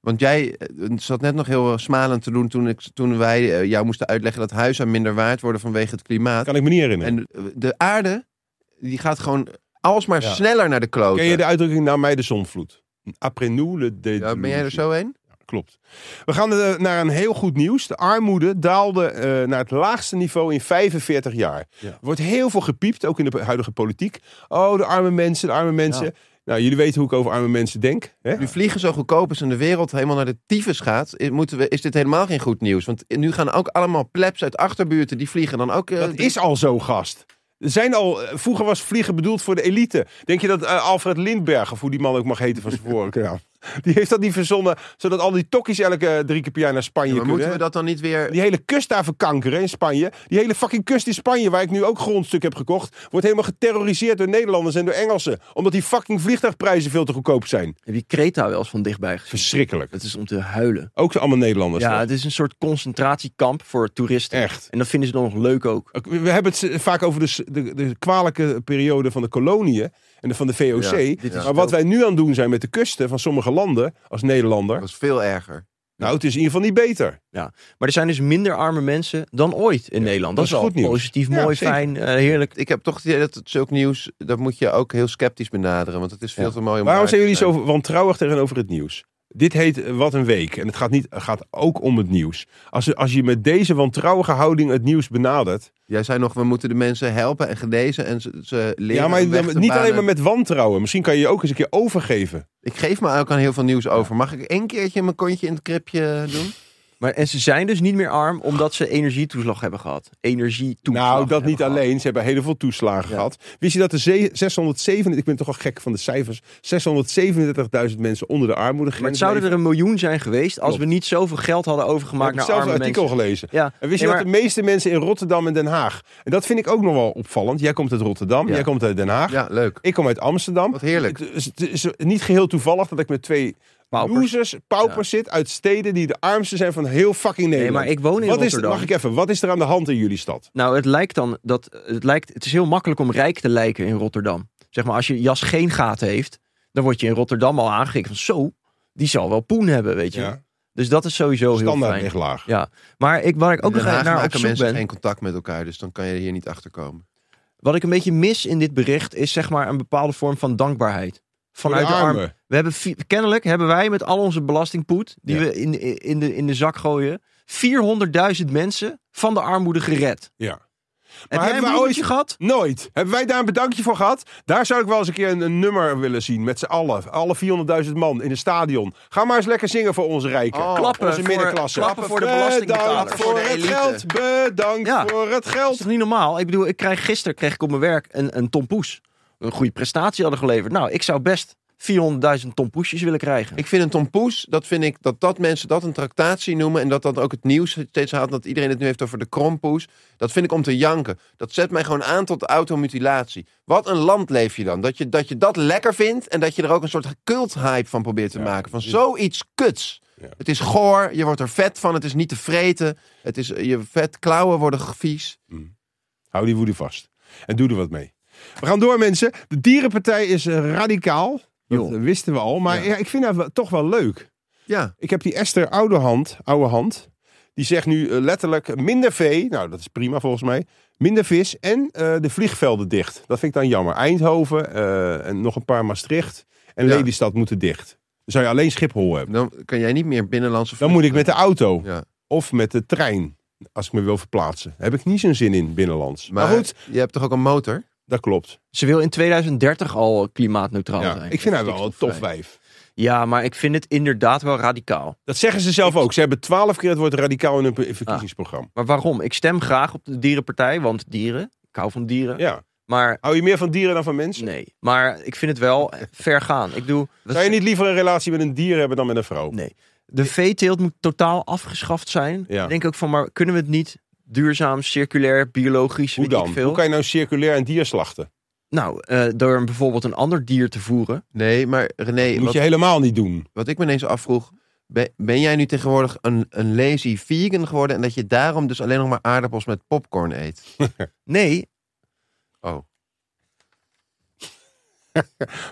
C: want jij eh, zat net nog heel eh, smalend te doen toen, ik, toen wij eh, jou moesten uitleggen dat huizen minder waard worden vanwege het klimaat.
B: kan ik me niet herinneren.
C: En eh, de aarde, die gaat gewoon alsmaar
B: Ja.
C: sneller naar de kloten.
B: Ken je de uitdrukking naar mij de zonvloed? Après nous le de
C: ja, ben jij er zo heen?
B: Klopt. We gaan eh, naar een heel goed nieuws. De armoede daalde eh, naar het laagste niveau in 45 jaar.
D: Ja.
B: Er wordt heel veel gepiept, ook in de huidige politiek. Oh, de arme mensen, de arme mensen. Nou, jullie weten hoe ik over arme mensen denk. Hè?
C: Nu vliegen zo goedkoop is en de wereld helemaal naar de tyfus gaat, eh, moeten we, is dit helemaal geen goed nieuws. Want nu gaan ook allemaal plebs uit achterbuurten, die vliegen dan ook... eh,
B: Dat is al zo, gast. Er zijn al, eh, vroeger was vliegen bedoeld voor de elite. Denk je dat eh, Alfred Lindberg, of hoe die man ook mag heten van zijn vorige naam, Die heeft dat niet verzonnen, zodat al die tokkies elke eh, drie keer per jaar naar Spanje
C: maar
B: kunnen.
C: moeten we dat dan niet weer...
B: Die hele kust daar verkankeren in Spanje. Die hele fucking kust in Spanje, waar ik nu ook grondstuk heb gekocht, wordt helemaal geterroriseerd door Nederlanders en door Engelsen. Omdat die fucking vliegtuigprijzen veel te goedkoop zijn.
D: Heb je Kreta wel eens van dichtbij gezien?
B: Verschrikkelijk.
D: Het is om te huilen.
B: Ook allemaal Nederlanders.
D: Ja,
B: toch?
D: het is een soort concentratiekamp voor toeristen.
B: Echt.
D: En dat vinden ze dan nog leuk ook.
B: Ook- We hebben het s- vaak over de, s- de, de kwalijke periode van de koloniën en de, van de VOC.
C: Ja, dit
D: is
B: maar
D: het
B: wat
D: ook.
B: wij nu aan het doen zijn met de kusten van sommige landen als Nederlander.
C: Dat was veel erger.
B: Nou, het is in ieder geval niet beter.
D: Maar er zijn dus minder arme mensen dan ooit in Nederland.
B: dat
D: Dat,
B: is
D: is wel
B: goed nieuws.
D: positief,
B: Ja,
D: mooi,
B: zeker.
D: fijn, eh, heerlijk.
C: Ik heb toch het idee dat het zulk nieuws, dat moet je ook heel sceptisch benaderen. Want het is veel te mooi
B: Waarom
C: om waar
B: zijn
C: te
B: jullie
C: zijn.
B: zo wantrouwig tegenover het nieuws? Dit heet eh, Wat een Week. En het gaat, niet, het gaat ook om het nieuws. Als, als je met deze wantrouwige houding het nieuws benadert.
C: Jij zei nog, we moeten de mensen helpen en genezen en ze, ze leren
B: ja, maar
C: een weg te
B: dan- niet alleen
C: banen.
B: maar met wantrouwen. Misschien kan je je ook eens een keer overgeven.
C: Ik geef me ook aan heel veel nieuws over. Mag ik één keertje mijn kontje in het kripje doen?
D: Maar, en ze zijn dus niet meer arm omdat ze energietoeslag hebben gehad. Energietoeslag.
B: nou, dat
D: hebben
B: niet
D: gehad.
B: alleen. Ze hebben heel veel toeslagen
D: Ja.
B: gehad. Wist je dat er ze- 607, ik ben toch al gek van de cijfers, 637.000 mensen onder de armoedegrens
D: Maar het zouden er
B: leven?
D: een miljoen zijn geweest als we niet zoveel geld hadden overgemaakt
B: ik heb
D: naar arme
B: zelfs een
D: mensen.
B: artikel gelezen.
D: Ja,
B: En wist je
D: nee,
B: dat de meeste mensen in Rotterdam en Den Haag... En dat vind ik ook nog wel opvallend. Jij komt uit Rotterdam,
C: Ja.
B: jij komt uit Den Haag.
C: Ja, leuk.
B: Ik kom uit Amsterdam.
C: Wat heerlijk.
B: Het is, het is niet geheel toevallig dat ik met twee
D: Paupers.
B: losers, paupers zit uit steden die de armste zijn van heel fucking Nederland.
D: maar ik woon in
B: wat
D: Rotterdam.
B: Is, mag ik even, wat is er aan de hand in jullie stad?
D: Nou, het lijkt dan dat het lijkt. Het is heel makkelijk om rijk te lijken in Rotterdam. Zeg maar, als je jas geen gaten heeft, dan word je in Rotterdam al aangekeken van zo, die zal wel poen hebben, weet je.
B: Ja.
D: Dus dat is sowieso heel
B: Standaard
D: fijn.
B: echt laag.
D: Ja, maar ik, waar ik ook
C: In
D: nog
C: Den Haag
D: naar op
C: maken
D: zoek
C: mensen
D: ben,
C: geen contact met elkaar, dus dan kan je hier niet achterkomen.
D: wat ik een beetje mis in dit bericht, is zeg maar een bepaalde vorm van dankbaarheid. Vanuit de,
B: Voor de
D: arm.
B: armen.
D: We hebben vi- kennelijk hebben wij met al onze belastingpoet, die
B: Ja.
D: we in, in, de, in de zak gooien, 400.000 mensen van de armoede gered.
B: Ja.
D: Heb jij
B: hebben
D: een
B: wij
D: bloemetje
B: ooit-
D: gehad?
B: Nooit. Hebben wij daar een bedankje voor gehad? Daar zou ik wel eens een keer een, een nummer willen zien. Met z'n allen. Alle 400.000 man in een stadion. Ga maar eens lekker zingen voor onze rijken.
C: Oh,
D: Klappen
B: onze
D: voor-
B: middenklasse.
D: klappen voor de
B: Bedankt
D: belastingbetalers.
B: voor
C: Voor de
B: het
C: elite.
B: geld. Bedankt
D: Ja.
B: voor het
D: Dat
B: geld.
D: is toch niet normaal? Ik bedoel, ik krijg, gisteren kreeg ik op mijn werk een, een tompoes. Een goede prestatie hadden geleverd. Nou, ik zou best 400.000 tompoesjes willen krijgen.
C: Ik vind een tompoes, dat vind ik dat, dat mensen dat een tractatie noemen en dat dat ook het nieuws steeds haalt dat iedereen het nu heeft over de krompoes. Dat vind ik om te janken. Dat zet mij gewoon aan tot automutilatie. Wat een land leef je dan? Dat je dat, je dat lekker vindt en dat je er ook een soort cult-hype van probeert te maken. Van zoiets kuts.
B: Ja.
C: Het is goor, je wordt er vet van, het is niet te vreten. Het is, je vet klauwen worden vies.
B: Hou die woede vast. En doe er wat mee. We gaan door, mensen. De Dierenpartij is eh, radicaal. Dat eh,
D: Joh.
B: wisten we al. Maar
C: Ja.
B: ja. ik vind dat wel- toch wel leuk.
C: Ja.
B: Ik heb die Esther Ouderhand, Ouwehand. Die zegt nu eh, letterlijk minder vee. Nou, dat is prima volgens mij. Minder vis en eh, de vliegvelden dicht. Dat vind ik dan jammer. Eindhoven eh, en nog een paar Maastricht. En
C: Ja.
B: Lelystad moeten dicht. Dan zou je alleen Schiphol hebben.
C: Dan kan jij niet meer binnenlandse
B: Dan moet ik met de auto
C: Ja.
B: of met de trein. Als ik me wil verplaatsen. Daar heb ik niet zo'n zin in binnenlands.
C: Maar,
B: maar goed,
C: je hebt toch ook een motor?
B: dat klopt.
D: Ze wil in 2030 al klimaatneutraal
B: Ja,
D: zijn.
B: ik vind haar wel een tof
D: Stikstofvrij.
B: wijf.
D: Ja, maar ik vind het inderdaad wel radicaal.
B: Dat zeggen ze zelf ook. Ze hebben twaalf keer het woord radicaal in hun pe- verkiezingsprogramma.
D: Maar waarom? Ik stem graag op de dierenpartij, want dieren, ik hou van dieren.
B: Ja.
D: Maar
B: Hou je meer van dieren dan van mensen?
D: Ah. nee, maar ik vind het wel ver gaan. Ik doe...
B: Zou je niet liever een relatie met een dier hebben dan met een vrouw?
D: Nee. De veeteelt moet totaal afgeschaft zijn.
B: Ja.
D: Ik denk ook van, maar kunnen we het niet duurzaam, circulair, biologisch,
B: Hoe
D: weet ik
B: dan?
D: veel?
B: Hoe kan je nou circulair een dier slachten?
D: Nou, eh, door bijvoorbeeld een ander dier te voeren.
C: Nee, maar René,
B: Dat moet
C: wat,
B: je helemaal niet doen.
C: wat ik me ineens afvroeg. Ben, ben jij nu tegenwoordig een, een lazy vegan geworden en dat je daarom dus alleen nog maar aardappels met popcorn eet?
D: Nee,
C: Oh.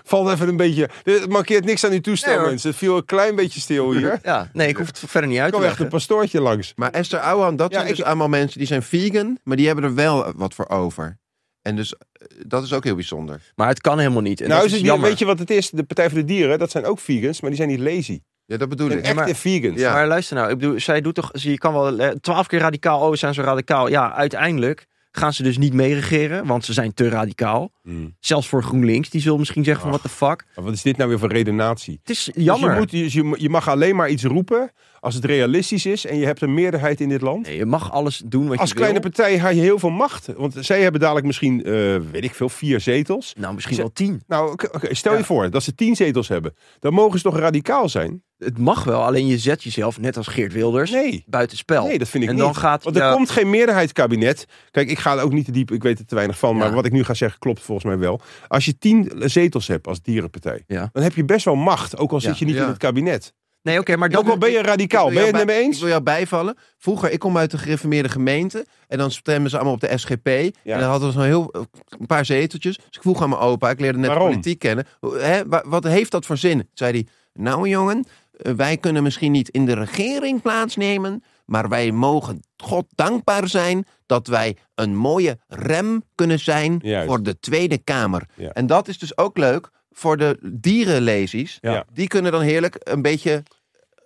B: Valt even een beetje... Het markeert niks aan uw toestel,
D: Nee, hoor.
B: mensen. Het viel een klein beetje stil hier. Er
D: ja, nee ik hoef het verder niet uit te
B: kwam echt een
D: leggen.
B: pastoortje langs.
C: Maar Esther Ouwehand, dat
B: Ja,
C: zijn
B: ik-
C: dus allemaal mensen die zijn vegan, maar die hebben er wel wat voor over. En dus eh, dat is ook heel bijzonder.
D: Maar het kan helemaal niet. En
B: nou,
D: dat
B: is het,
D: jammer.
B: weet je wat het is? De Partij voor de Dieren, dat zijn ook vegans, maar die zijn niet lazy.
C: Ja, dat bedoel
B: Dat zijn
C: ik.
B: echte
D: maar-
B: vegans.
C: Ja.
D: Maar luister nou, ik bedoel, zij doet toch, je kan wel eh, twaalf keer radicaal, oh, we zijn zo radicaal. Ja, uiteindelijk gaan ze dus niet meeregeren, want ze zijn te radicaal.
B: Hmm.
D: Zelfs voor GroenLinks, die zullen misschien zeggen van
B: Ach.
D: what the fuck.
B: Maar Wat is dit nou weer voor redenatie?
D: Het is
B: Dus
D: jammer.
B: je, moet, dus je, je mag alleen maar iets roepen als het realistisch is en je hebt een meerderheid in dit land.
D: Nee, je mag alles doen wat
B: Als
D: je
B: kleine
D: wil.
B: partij heb je heel veel macht. Want zij hebben dadelijk misschien, eh, weet ik veel, vier zetels.
D: Nou, misschien wel tien.
B: Nou, oké, oké, stel
D: Ja.
B: je voor dat ze tien zetels hebben. Dan mogen ze toch radicaal zijn?
D: Het mag wel, alleen je zet jezelf, net als Geert Wilders,
B: Nee.
D: buitenspel.
B: Nee, dat vind ik
D: en
B: niet.
D: dan gaat...
B: Want er
D: ja,
B: komt geen meerderheidskabinet. Kijk, ik ga er ook niet te diep, ik weet er te weinig van. Maar
D: Ja.
B: wat ik nu ga zeggen klopt volgens mij wel. Als je tien zetels hebt als dierenpartij,
D: Ja.
B: dan heb je best wel macht. Ook al
D: Ja.
B: zit je niet
C: Ja.
B: in het kabinet.
D: Nee, oké, maar
B: Ook
D: dan...
B: al ben je
C: Ik
B: radicaal.
C: wil
B: Ben je
C: jou
B: het
C: bij-
B: met me
C: Ik
B: eens?
C: wil jou bijvallen. Vroeger, ik kom uit de gereformeerde gemeente. En dan stemmen ze allemaal op de SGP. En dan hadden we zo'n heel, eh, een paar zeteltjes. Dus ik vroeg aan mijn opa, ik leerde net
B: Waarom?
C: politiek kennen. Hoe- Hè, wa- wat heeft dat voor zin? Toen zei hij, nou jongen, eh, wij kunnen misschien niet in de regering plaatsnemen. Maar wij mogen God dankbaar zijn dat wij een mooie rem kunnen zijn
B: Juist.
C: voor de Tweede Kamer.
B: Ja.
C: En dat is dus ook leuk voor de dierenlezies.
B: Ja.
C: Die kunnen dan heerlijk een beetje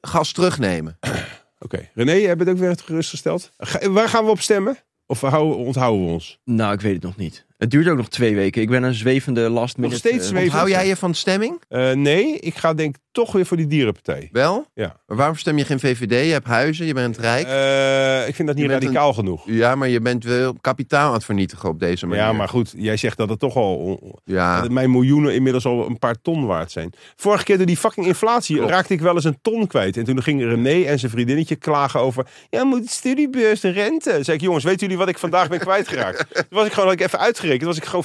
C: gas terugnemen.
B: Oké, René, jij bent ook weer het gerustgesteld. Ga- waar gaan we op stemmen? Of houden, onthouden we ons?
D: Nou, ik weet het nog niet. Het duurt ook nog twee weken. Ik ben een zwevende last minute...
B: steeds
D: eh,
B: zweven.
C: Hou jij je van stemming?
B: Eh, nee, ik ga denk ik toch weer voor die dierenpartij.
C: Wel?
B: Ja.
C: Maar waarom stem je geen VVD? Je hebt huizen, je bent rijk.
B: Eh, ik vind dat niet
C: Je bent
B: radicaal genoeg.
C: ja, maar je bent wel kapitaal aan het vernietigen op deze manier.
B: Ja, maar goed, jij zegt dat het toch al on-
C: Ja,
B: dat mijn miljoenen inmiddels al een paar ton waard zijn. Vorige keer door die fucking inflatie
C: Klopt.
B: raakte ik wel eens een ton kwijt. En toen ging René en zijn vriendinnetje klagen over... Ja, moet het studiebeurs de rente? Toen zei ik, jongens, weten jullie wat ik vandaag ben kwijtgeraakt? toen was ik gewoon, had ik even uitgerekend, was ik gewoon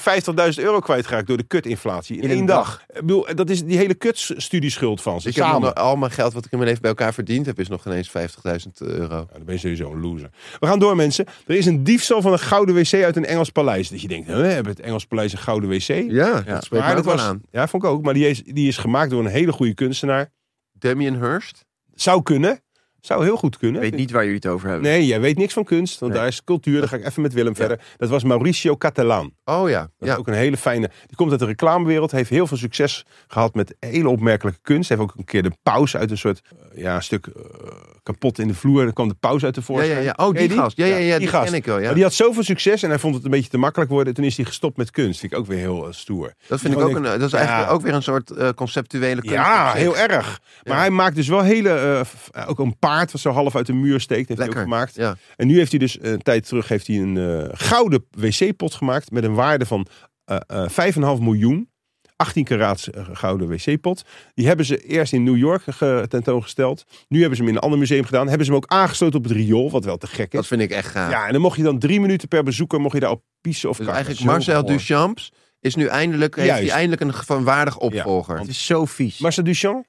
B: 50.000 euro kwijtgeraakt door de kutinflatie. In,
D: In een
B: één dag. Ik bedoel, dat is die hele kutstudieschuld van ze.
C: ik heb
B: samen.
C: nog- al mijn geld wat ik in mijn leven bij elkaar verdiend heb, is nog ineens 50.000 euro.
B: Nou, dan ben je sowieso een loser. We gaan door, mensen. Er is een diefstal van een gouden wc uit een Engels paleis. Dat je denkt, hè, hebben het Engels paleis een gouden wc?
C: Ja, dat spreekt me ook
B: dat
C: wel
B: was-
C: aan.
B: Ja, vond ik ook. Maar die is, die is gemaakt door een hele goede kunstenaar.
C: Damien Hurst?
B: Zou kunnen. Zou heel goed kunnen.
D: Ik weet niet waar jullie het over hebben.
B: Nee, jij weet niks van kunst. Want
D: Nee.
B: daar is cultuur. Daar ga ik even met Willem verder. Dat was Mauricio Catalan.
C: Oh ja,
B: Dat
C: ja.
B: is ook een hele fijne... Die komt uit de reclamewereld. Heeft heel veel succes gehad met hele opmerkelijke kunst. Heeft ook een keer de paus uit een soort... eh, Ja, een stuk eh, kapot in de vloer. En dan kwam de paus uit de
C: ja, ja,
B: voorschijn.
C: ja. Oh,
B: Ken je
C: die gast. Ja, ja, ja, die,
B: gast.
C: ken ik wel. Ja.
B: Maar die had zoveel succes en hij vond het een beetje te makkelijk worden. Toen is hij gestopt met kunst. Vind ik ook weer heel eh, stoer.
C: dat vind ik
B: gewoon
C: ook een, dat is
B: ja.
C: eigenlijk ook weer een soort eh, conceptuele kunst. op
B: Ja,
C: zich.
B: heel erg. Maar
C: Ja.
B: hij maakt dus wel hele... eh, f- eh, ook een paard wat zo half uit de muur steekt. Heeft
C: Lekker.
B: hij ook gemaakt.
C: Ja.
B: En nu heeft hij dus eh, een tijd terug heeft hij een eh, gouden wc-pot gemaakt. Met een waarde van eh, eh, 5,5 miljoen. 18 karaats eh, gouden wc-pot. Die hebben ze eerst in New York ge- tentoongesteld. Nu hebben ze hem in een ander museum gedaan. Hebben ze hem ook aangesloten op het riool. Wat wel te gek is.
C: Dat vind ik echt gaaf.
B: Ja, en dan mocht je dan drie minuten per bezoeker mocht je daar op pissen of
C: Dus
B: kakken.
C: eigenlijk
B: Zo
C: Marcel
B: goor.
C: Duchamps is nu eindelijk, heeft
B: Juist.
C: hij eindelijk een vanwaardig opvolger.
D: Het is zo vies.
B: Marcel Duchamp?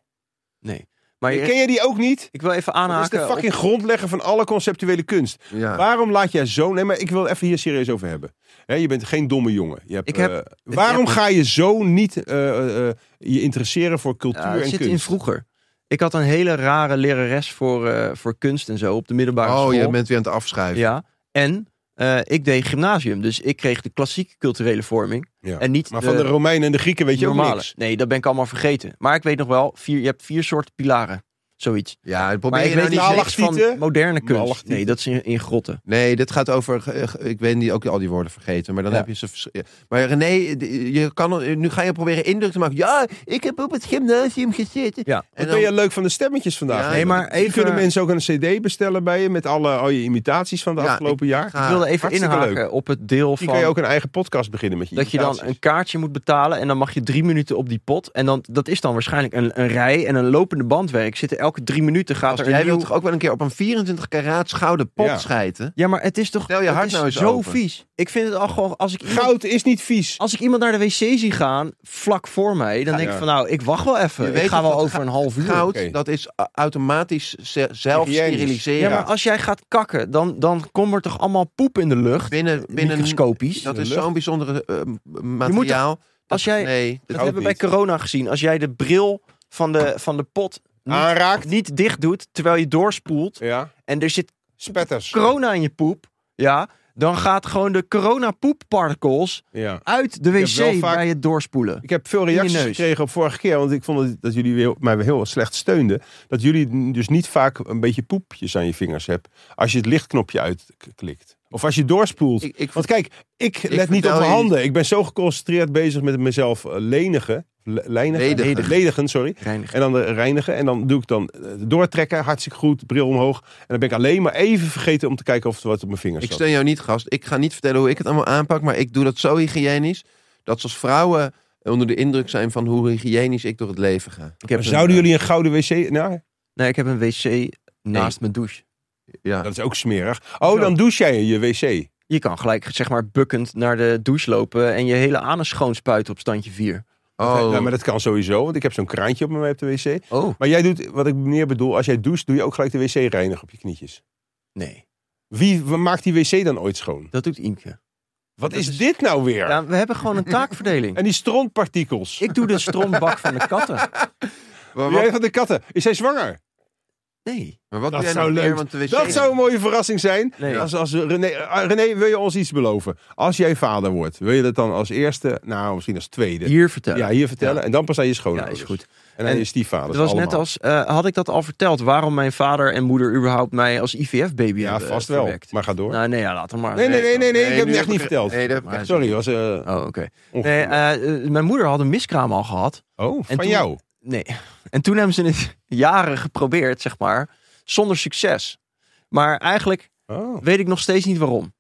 D: nee. Maar je-
B: Ken jij die ook niet?
D: ik wil even
B: Dat is
D: aanhaken
B: de
D: op-
B: fucking grondlegger van alle conceptuele kunst.
D: Ah.
C: ja.
B: Waarom laat jij zo... Nee, maar ik wil even hier serieus over hebben. Hè, je bent geen domme jongen. Je hebt,
D: Ik heb-
B: eh, waarom ga je zo niet eh, eh, je interesseren voor cultuur
D: Ja,
B: en
D: het zit
B: kunst?
D: in vroeger. Ik had een hele rare lerares voor, eh, voor kunst en zo op de middelbare school.
C: oh, je bent weer aan het afschuiven.
D: Ja, en eh, ik deed gymnasium. Dus ik kreeg de klassieke culturele vorming.
B: Ja.
D: En niet
B: Maar van de Romeinen en de Grieken weet je
D: normale.
B: ook niks.
D: Nee, dat ben ik allemaal vergeten. Maar ik weet nog wel, vier, je hebt vier soorten pilaren. Zoiets.
C: Ja, dat
D: Maar
C: probeer
D: ik
C: je nou
D: weet
C: niet
D: niet
B: zeggen.
D: niks van
B: Malachtieten?
D: moderne kunst.
B: Malachtieten.
D: Nee, dat is in, in grotten.
C: Nee, dit gaat over. ge- ge- Ik weet niet, ook al die woorden vergeten. Maar dan
D: Ja.
C: heb je ze. vers- ja. Maar René, d- je kan, nu ga je proberen indruk te maken. Ja, ik heb op het gymnasium gezeten.
D: Ja.
B: Wat
C: En dan,
B: ben je leuk van de stemmetjes vandaag?
C: Ja,
B: hè?
D: nee, maar
B: Die
D: even-
B: Kunnen mensen ook een cd bestellen bij je met alle, al je imitaties van de
C: Ja,
B: afgelopen jaar?
C: ga-
D: Ik wilde even
B: hartstikke
D: inhaken
B: leuk.
D: op het deel
B: Die kan je
D: van...
B: ook een eigen podcast beginnen met je
D: Dat je dan
B: imitaties.
D: een kaartje moet betalen en dan mag je drie minuten op die pot. En dan, dat is dan waarschijnlijk een, een rij en een lopende bandwerk. Zitten elke drie minuten gaat
C: Gast,
D: er een
C: jij wilt
D: nieuw-
C: toch ook wel een keer op een 24 karaat gouden pot
B: Ja.
C: schijten?
D: Ja, maar het is toch
C: Stel je
D: het
C: hart
D: is
C: nou eens
D: zo
C: open.
D: vies. Ik vind het al gewoon, als ik, iemand,
B: Goud is niet vies.
D: als ik iemand naar de wc zie gaan, vlak voor mij, dan denk
B: ja.
D: ik van nou, ik wacht wel
C: Je
D: even. Ik
C: weet
D: ga
C: toch
D: wel
C: dat
D: over een half uur.
C: Goud,
B: Oké.
C: dat is a- automatisch ze- zelf
B: Hygiënisch.
D: Ja,
C: steriliseren.
D: maar als jij gaat kakken, dan, dan komt er toch allemaal poep in de lucht.
C: binnen, binnen
D: microscopisch.
C: Dat
B: De
C: is
B: lucht.
C: zo'n bijzondere eh, m- materiaal.
D: als jij-
C: Nee, dat-
D: Dat hebben we
B: niet.
D: bij corona gezien. Als jij de bril van de, van de pot niet,
B: Aanraakt.
D: niet dicht doet, terwijl je doorspoelt
B: Ja.
D: en er zit
B: Spetters.
D: corona in je poep, ja, dan gaat gewoon de corona poepparticles
B: Ja.
D: uit de
B: Ik heb wel
D: wc
B: vaak-
D: bij het doorspoelen.
B: Ik heb veel
D: je
B: reacties
D: neus.
B: gekregen op vorige keer. Want ik vond dat- dat jullie weer, mij weer heel slecht steunden. Dat jullie dus niet vaak een beetje poepjes aan je vingers hebt. Als je het lichtknopje uitklikt. Of als je doorspoelt.
C: Ik, ik,
B: Want kijk, ik, let niet op
C: vertel
B: mijn
C: je-
B: handen. Ik ben zo geconcentreerd bezig met mezelf eh, lenigen. Le- Leinigen?
C: Ledigen.
B: Ledigen. sorry.
D: Reinig.
B: En dan de reinigen. En dan doe ik dan eh, doortrekken. Hartstikke goed. Bril omhoog. En dan ben ik alleen maar even vergeten om te kijken of er wat op mijn vingers
C: ik
B: zat.
C: steun jou niet, gast. Ik ga niet vertellen hoe ik het allemaal aanpak, maar ik doe dat zo hygiënisch. Dat ze als vrouwen onder de indruk zijn van hoe hygiënisch ik door het leven ga.
D: Ik heb een,
B: Zouden jullie een gouden wc... Nou,
D: Nee, ik heb een wc naast mijn douche.
C: Ja.
B: dat is ook smerig. Oh, dan douche jij in je wc.
D: Je kan gelijk, zeg maar, bukkend naar de douche lopen en je hele anus schoonspuiten op standje 4.
C: Oh,
B: Ja, nou, maar dat kan sowieso, want ik heb zo'n kraantje op me op de wc.
D: Oh.
B: Maar jij doet, wat ik meer bedoel, als jij doucht, doe je ook gelijk de wc reinig op je knietjes.
D: Nee,
B: Wie wie maakt die wc dan ooit schoon?
D: dat doet Imke.
B: Wat
D: Dat
B: is,
D: is-
B: dit nou weer?
D: Ja, we hebben gewoon een taakverdeling.
B: En die strontpartikels.
D: Ik doe de strombak van de katten.
C: maar
B: Jij
C: wat,
B: van de katten. Is hij zwanger?
D: Nee.
C: maar wat
B: Dat
C: doe jij
B: zou
C: nou
B: leuk-
C: meer? Want de wc
B: Dat zou een mooie verrassing zijn.
D: Nee.
B: Als, als René, eh, René, wil je ons iets beloven? Als jij vader wordt, wil je dat dan als eerste, nou misschien als tweede,
D: Hier vertellen.
B: ja, hier vertellen?
D: Ja.
B: En dan pas aan je
D: Ja,
B: schoonouders.
D: is goed.
B: En aan
D: En
B: je stiefvader.
D: Het was net
B: allemaal.
D: als, eh, had ik dat al verteld, waarom mijn vader en moeder überhaupt mij als IVF-baby
B: Ja,
D: hebben eh,
B: vast wel.
D: verwekt?
B: Maar ga door.
D: Nou, nee, ja, laat hem maar.
B: nee, nee, nee, nee, nee, ik heb
C: nu
B: het echt niet verteld.
C: Nee, dat heb ik
D: Maar-
C: echt-
B: Sorry, was... eh,
D: Oh, oké.
B: ongevoelig.
D: Nee, eh, eh, mijn moeder had een miskraam al gehad.
B: oh, van
D: toen-
B: jou?
D: Nee. En toen hebben ze het jaren geprobeerd, zeg maar, zonder succes. Maar eigenlijk
B: Oh.
D: weet ik nog steeds niet waarom.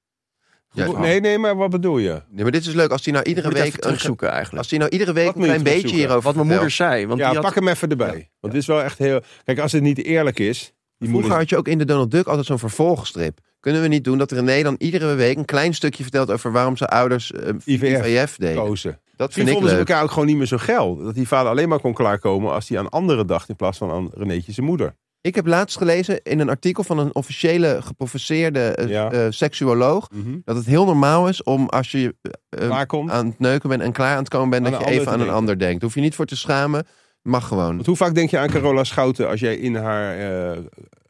C: Ja, nou.
D: Goed,
B: Nee, nee, maar wat bedoel je?
C: Nee, maar dit is leuk. Als hij nou iedere
D: moet
C: week
D: even
C: een, ge-
D: terugzoeken eigenlijk.
C: als hij nou iedere week
B: Wat
C: een
B: moet je
C: klein beetje
B: terugzoeken?
C: hierover
D: Wat mijn moeder
C: vertelt.
D: zei. Want
B: ja,
D: die had,
B: pak hem even erbij. Want dit is wel echt heel... Kijk, als het niet eerlijk is... Die
C: Vroeger
B: moeder...
C: had je ook in de Donald Duck altijd zo'n vervolgstrip. Kunnen we niet doen dat René dan iedere week een klein stukje vertelt over waarom zijn ouders eh,
B: IVF
C: IVF deden?
B: kozen.
C: Dat
B: Misschien
C: vind ik
B: vonden ze
C: leuk.
B: elkaar ook gewoon niet meer zo geil. Dat die vader alleen maar kon klaarkomen als hij aan anderen dacht... in plaats van aan Renéetje zijn moeder.
C: Ik heb laatst gelezen in een artikel van een officiële geprofesseerde eh,
B: Ja.
C: eh, seksuoloog dat het heel normaal is om als je eh,
B: Waar komt?
C: Mhm. aan het neuken bent en klaar aan het komen bent,
B: Aan
C: dat
B: een
C: je even
B: ander
C: aan
B: te
C: een
B: denken.
C: ander denkt. Hoef je niet voor te schamen. Mag gewoon.
B: Want hoe vaak denk je aan Carola Schouten als jij in haar... eh,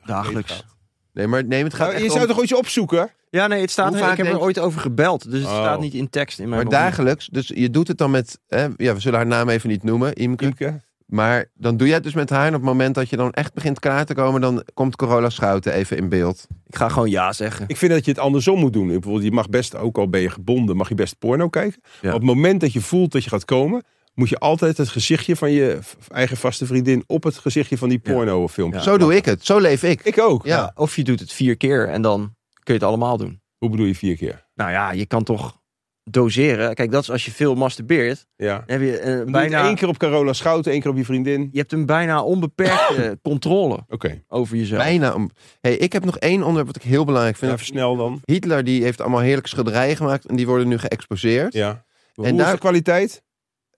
D: dagelijks.
B: gaat.
C: Nee, maar nee, het gaat
B: nou,
C: echt
B: je zou
C: om-
B: toch ooit iets opzoeken?
D: Ja, nee, het staat,
C: Hoe
D: ik
C: vaak
D: heb er
C: denk-
D: ooit over gebeld. Dus het
B: Oh.
D: staat niet in tekst in mijn
C: Maar
D: mobiel.
C: dagelijks, dus je doet het dan met, hè, ja, we zullen haar naam even niet noemen, Imke.
B: Imke?
C: Maar dan doe jij het dus met haar en op het moment dat je dan echt begint klaar te komen, dan komt Corolla Schouten even in beeld.
D: Ik ga gewoon ja zeggen.
B: Ik vind dat je het andersom moet doen. Bijvoorbeeld, je mag best, ook al ben je gebonden, mag je best porno kijken. Maar op het moment dat je voelt dat je gaat komen, moet je altijd het gezichtje van je v- eigen vaste vriendin op het gezichtje van die
D: Ja.
B: porno filmpje.
D: Ja.
C: zo doe ik het, zo leef ik.
B: Ik ook.
C: ja.
D: Of je doet het vier keer en dan kun je het allemaal doen.
B: Hoe bedoel je vier keer?
D: Nou ja, je kan toch doseren. Kijk, dat is als je veel masturbeert.
B: Ja.
D: Dan heb je, eh,
B: Bijna
D: bijna,
B: één keer op Carola Schouten, één keer op je vriendin.
D: je hebt een bijna onbeperkte controle
B: Oké.
D: over jezelf.
C: Bijna om. Hey, ik heb nog één onderwerp wat ik heel belangrijk vind.
B: Even snel dan.
C: Hitler die heeft allemaal heerlijke schilderijen gemaakt en die worden nu geëxposeerd.
B: Ja. En Hoe
C: En
B: is
C: daar-
B: de kwaliteit?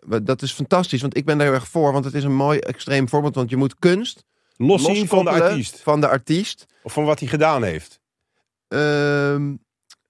C: Maar Dat is fantastisch, want ik ben daar heel erg voor, want het is een mooi extreem voorbeeld, want je moet kunst
B: Los zien van de
C: loskoppelen
B: artiest.
C: Van de artiest.
B: Of van wat hij gedaan heeft.
C: Ehm,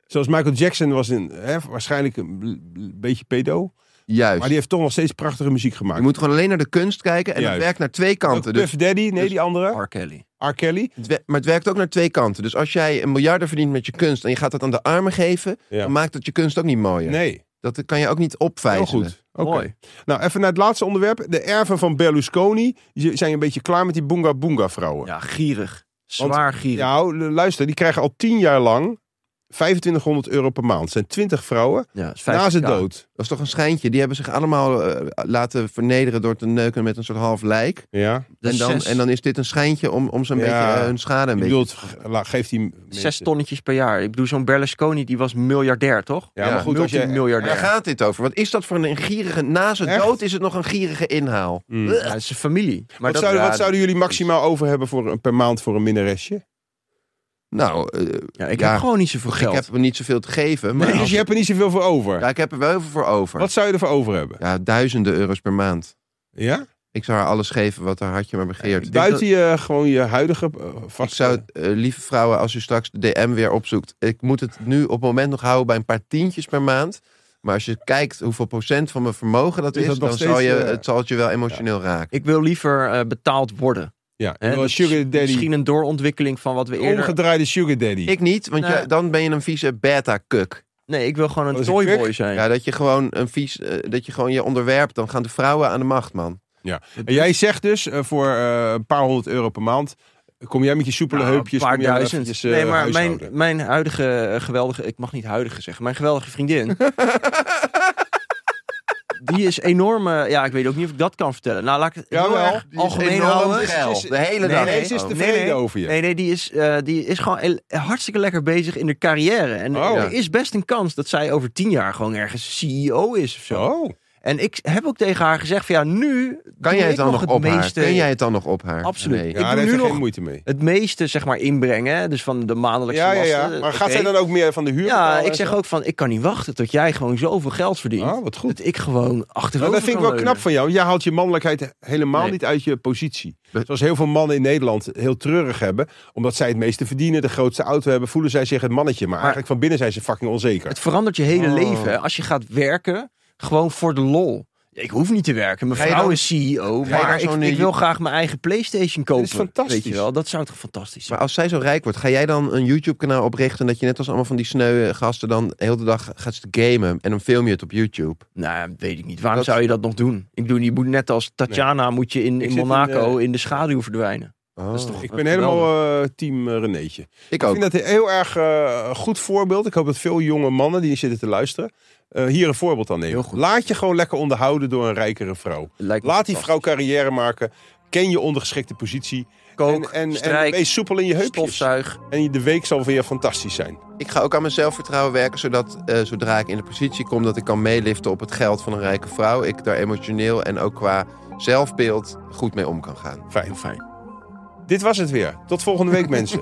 B: Zoals Michael Jackson was een, hè, waarschijnlijk een b- beetje pedo.
C: juist.
B: Maar die heeft toch nog steeds prachtige muziek
C: Je
B: gemaakt.
C: moet gewoon alleen naar de kunst kijken en
B: Juist.
C: het werkt naar twee kanten.
B: Ook
C: Dus
B: Puff Daddy, nee
C: dus-
B: die andere.
D: R. Kelly.
B: R. Kelly.
C: Het wer- maar het werkt ook naar twee kanten. Dus als jij een miljarden verdient met je kunst en je gaat dat aan de armen geven,
B: Ja.
C: dan maakt dat je kunst ook niet mooier.
B: Nee,
C: Dat kan je ook niet
B: heel
C: opvijzelen.
B: goed. Oké.
D: Mooi.
B: Nou, even naar het laatste onderwerp. De erven van Berlusconi die zijn een beetje klaar met die Boonga Boonga vrouwen.
D: Ja, gierig.
B: Want-
D: Zwaar gierig.
B: Ja, hou- luister, die krijgen al tien jaar lang 2500 euro per maand. Het zijn 20 vrouwen
D: Ja, is
B: na
D: 50k.
B: zijn dood.
C: Dat is toch een schijntje. Die hebben zich allemaal eh, laten vernederen door te neuken met een soort half lijk.
B: Ja,
D: Dat
C: En
D: is
C: dan,
D: zes,
C: en dan is dit een schijntje om, om zo'n
B: Ja.
C: beetje eh, hun schade een
B: ik
C: beetje.
B: bedoel, het- la- geeft die
D: zes
B: mensen-
D: tonnetjes per jaar. Ik bedoel, zo'n Berlusconi die was miljardair, toch?
B: Ja, maar
C: Ja,
B: goed, als je...
D: Multimiljardair.
C: Waar gaat dit over? Wat is dat voor een gierige... Na zijn
B: Echt?
C: dood is het nog een gierige inhaal.
B: Mm.
D: Ja, het is een familie. Maar
B: Wat,
D: dat,
B: zouden,
C: ja,
B: wat zouden jullie maximaal over hebben voor, een- per maand voor een minnaresje?
C: Nou, eh,
D: ja, ik
C: ja.
D: heb gewoon niet zoveel
C: ik
D: geld.
C: heb er niet zoveel te geven. Maar
B: Nee, dus
C: als-
B: je hebt er niet zoveel voor over.
C: ja, ik heb er wel even voor over.
B: Wat zou je ervoor over hebben?
C: Ja, duizenden euro's per maand.
B: Ja?
C: Ik zou haar alles geven wat haar hartje maar begeert.
B: Eh, Buiten je, gewoon je huidige eh,
C: Ik
B: vaste...
C: zou, eh, lieve vrouwen, als u straks de DM weer opzoekt. Ik moet het nu op het moment nog houden bij een paar tientjes per maand. Maar als je kijkt hoeveel procent van mijn vermogen dat
B: Is
C: is,
B: dat nog
C: dan zal, je,
B: steeds, eh,
C: het zal het je wel emotioneel raken.
D: Ik wil liever eh, betaald worden.
B: Ja,
D: Hè?
B: wel
D: Dat is
B: sugar daddy.
D: Misschien een doorontwikkeling van wat we eerder...
B: Omgedraaide sugar daddy.
C: Ik niet, want
D: Nee.
C: jij- dan ben je een vieze beta-kuk.
D: Nee, ik wil gewoon
B: Oh,
D: een
B: is een
D: toyboy
B: kuk?
D: zijn.
C: Ja, dat je gewoon een vies, eh, dat je gewoon je onderwerpt. Dan gaan de vrouwen aan de macht, man.
B: En jij zegt dus eh, voor eh, een paar honderd euro per maand Kom jij met je soepele
D: Nou,
B: heupjes?
D: Een paar
B: kom jij wel
D: duizend.
B: eventjes, eh,
D: nee, maar mijn,
B: huishouden?
D: mijn huidige eh, geweldige... Ik mag niet huidige zeggen. Mijn geweldige vriendin. die is enorm... eh, ja, ik weet ook niet of ik dat kan vertellen. Nou, laat ik het heel
B: Jawel,
D: erg algemeen houden.
C: geil. De hele
D: Nee,
C: dag.
D: nee,
B: ze is
C: Oh.
B: tevreden over je.
D: Nee, nee, die is, eh, die is gewoon heel- hartstikke lekker bezig in de carrière. En
B: Oh.
D: er is best een kans dat zij over tien jaar gewoon ergens CEO is of zo.
B: Zo.
D: En ik heb ook tegen haar gezegd van ja, nu
C: Kan
D: doe
C: jij
D: ik
C: het dan nog
D: nog
C: op
D: het
C: haar?
D: meeste,
C: Kun jij het dan nog op haar?
D: Absoluut.
C: Nee.
D: Ik
B: Ja,
D: doe
B: daar
D: nu
B: heeft er
D: nog-
B: geen moeite mee.
D: het meeste zeg maar inbrengen. hè, Dus van de maandelijkse
B: Ja, ja, ja.
D: lasten.
B: Maar gaat zij
D: Oké.
B: dan ook meer van de huur Oh,
D: eh, Ja,
B: betalen
D: ik
B: en
D: zeg
B: zo?
D: ook van ik kan niet wachten tot jij gewoon zoveel geld verdient.
B: Ah, wat goed.
D: Dat ik gewoon
B: Nou,
D: achterover
B: dat vind ik
D: kan
B: wel
D: leunen.
B: knap van jou. want Jij haalt je mannelijkheid helemaal
D: Nee.
B: niet uit je positie.
C: Nee.
B: Zoals heel veel mannen in Nederland heel treurig hebben. Omdat zij het meeste verdienen, de grootste auto hebben, voelen zij zich het mannetje. Maar, eigenlijk van binnen zijn ze fucking onzeker.
D: Het verandert je hele
C: Oh.
D: leven hè, als je gaat werken gewoon voor de lol. Ik hoef niet te werken. Mijn
C: Ga je
D: vrouw
C: dan-
D: is
C: Ga
D: CEO,
C: je
D: maar ik,
C: dan zo'n, eh,
D: ik wil graag mijn eigen PlayStation kopen.
B: fantastisch.
D: Weet je wel, dat zou toch fantastisch zijn.
C: Maar als zij zo rijk wordt, ga jij dan een YouTube-kanaal oprichten... dat je net als allemaal van die sneuwe gasten dan heel de dag gaat zitten gamen... en dan film je het op YouTube?
D: nou, weet ik niet. Waarom
C: Dat-
D: zou je dat nog doen? Ik bedoel, je moet net als Tatjana moet je in,
B: Ik
D: in
B: zit in,
D: Monaco in,
B: eh,
D: de schaduw verdwijnen.
C: Dat
D: is
B: Ik
D: toch- dat
B: ben
D: is
B: helemaal eh, team eh, Renéetje.
C: Oh. Ik
B: Ik
C: ook.
B: vind dat een heel erg eh, goed voorbeeld. Ik hoop dat veel jonge mannen die zitten te luisteren... eh, hier een voorbeeld aan nemen.
D: Heel goed.
B: Laat je gewoon lekker onderhouden door een rijkere vrouw.
D: Lijkt me
B: Laat die vrouw
D: fantastisch.
B: carrière maken. Ken je ondergeschikte positie.
D: kook,
B: en, en, en
D: strijk,
B: wees soepel in je heupjes.
D: stofzuig.
B: En de week zal weer fantastisch zijn.
C: Ik ga ook aan mijn zelfvertrouwen werken, zodat eh, zodra ik in de positie kom dat ik kan meeliften op het geld van een rijke vrouw, ik daar emotioneel en ook qua zelfbeeld goed mee om kan gaan.
B: Fijn.
D: Fijn.
B: Dit was het weer. Tot volgende week, mensen.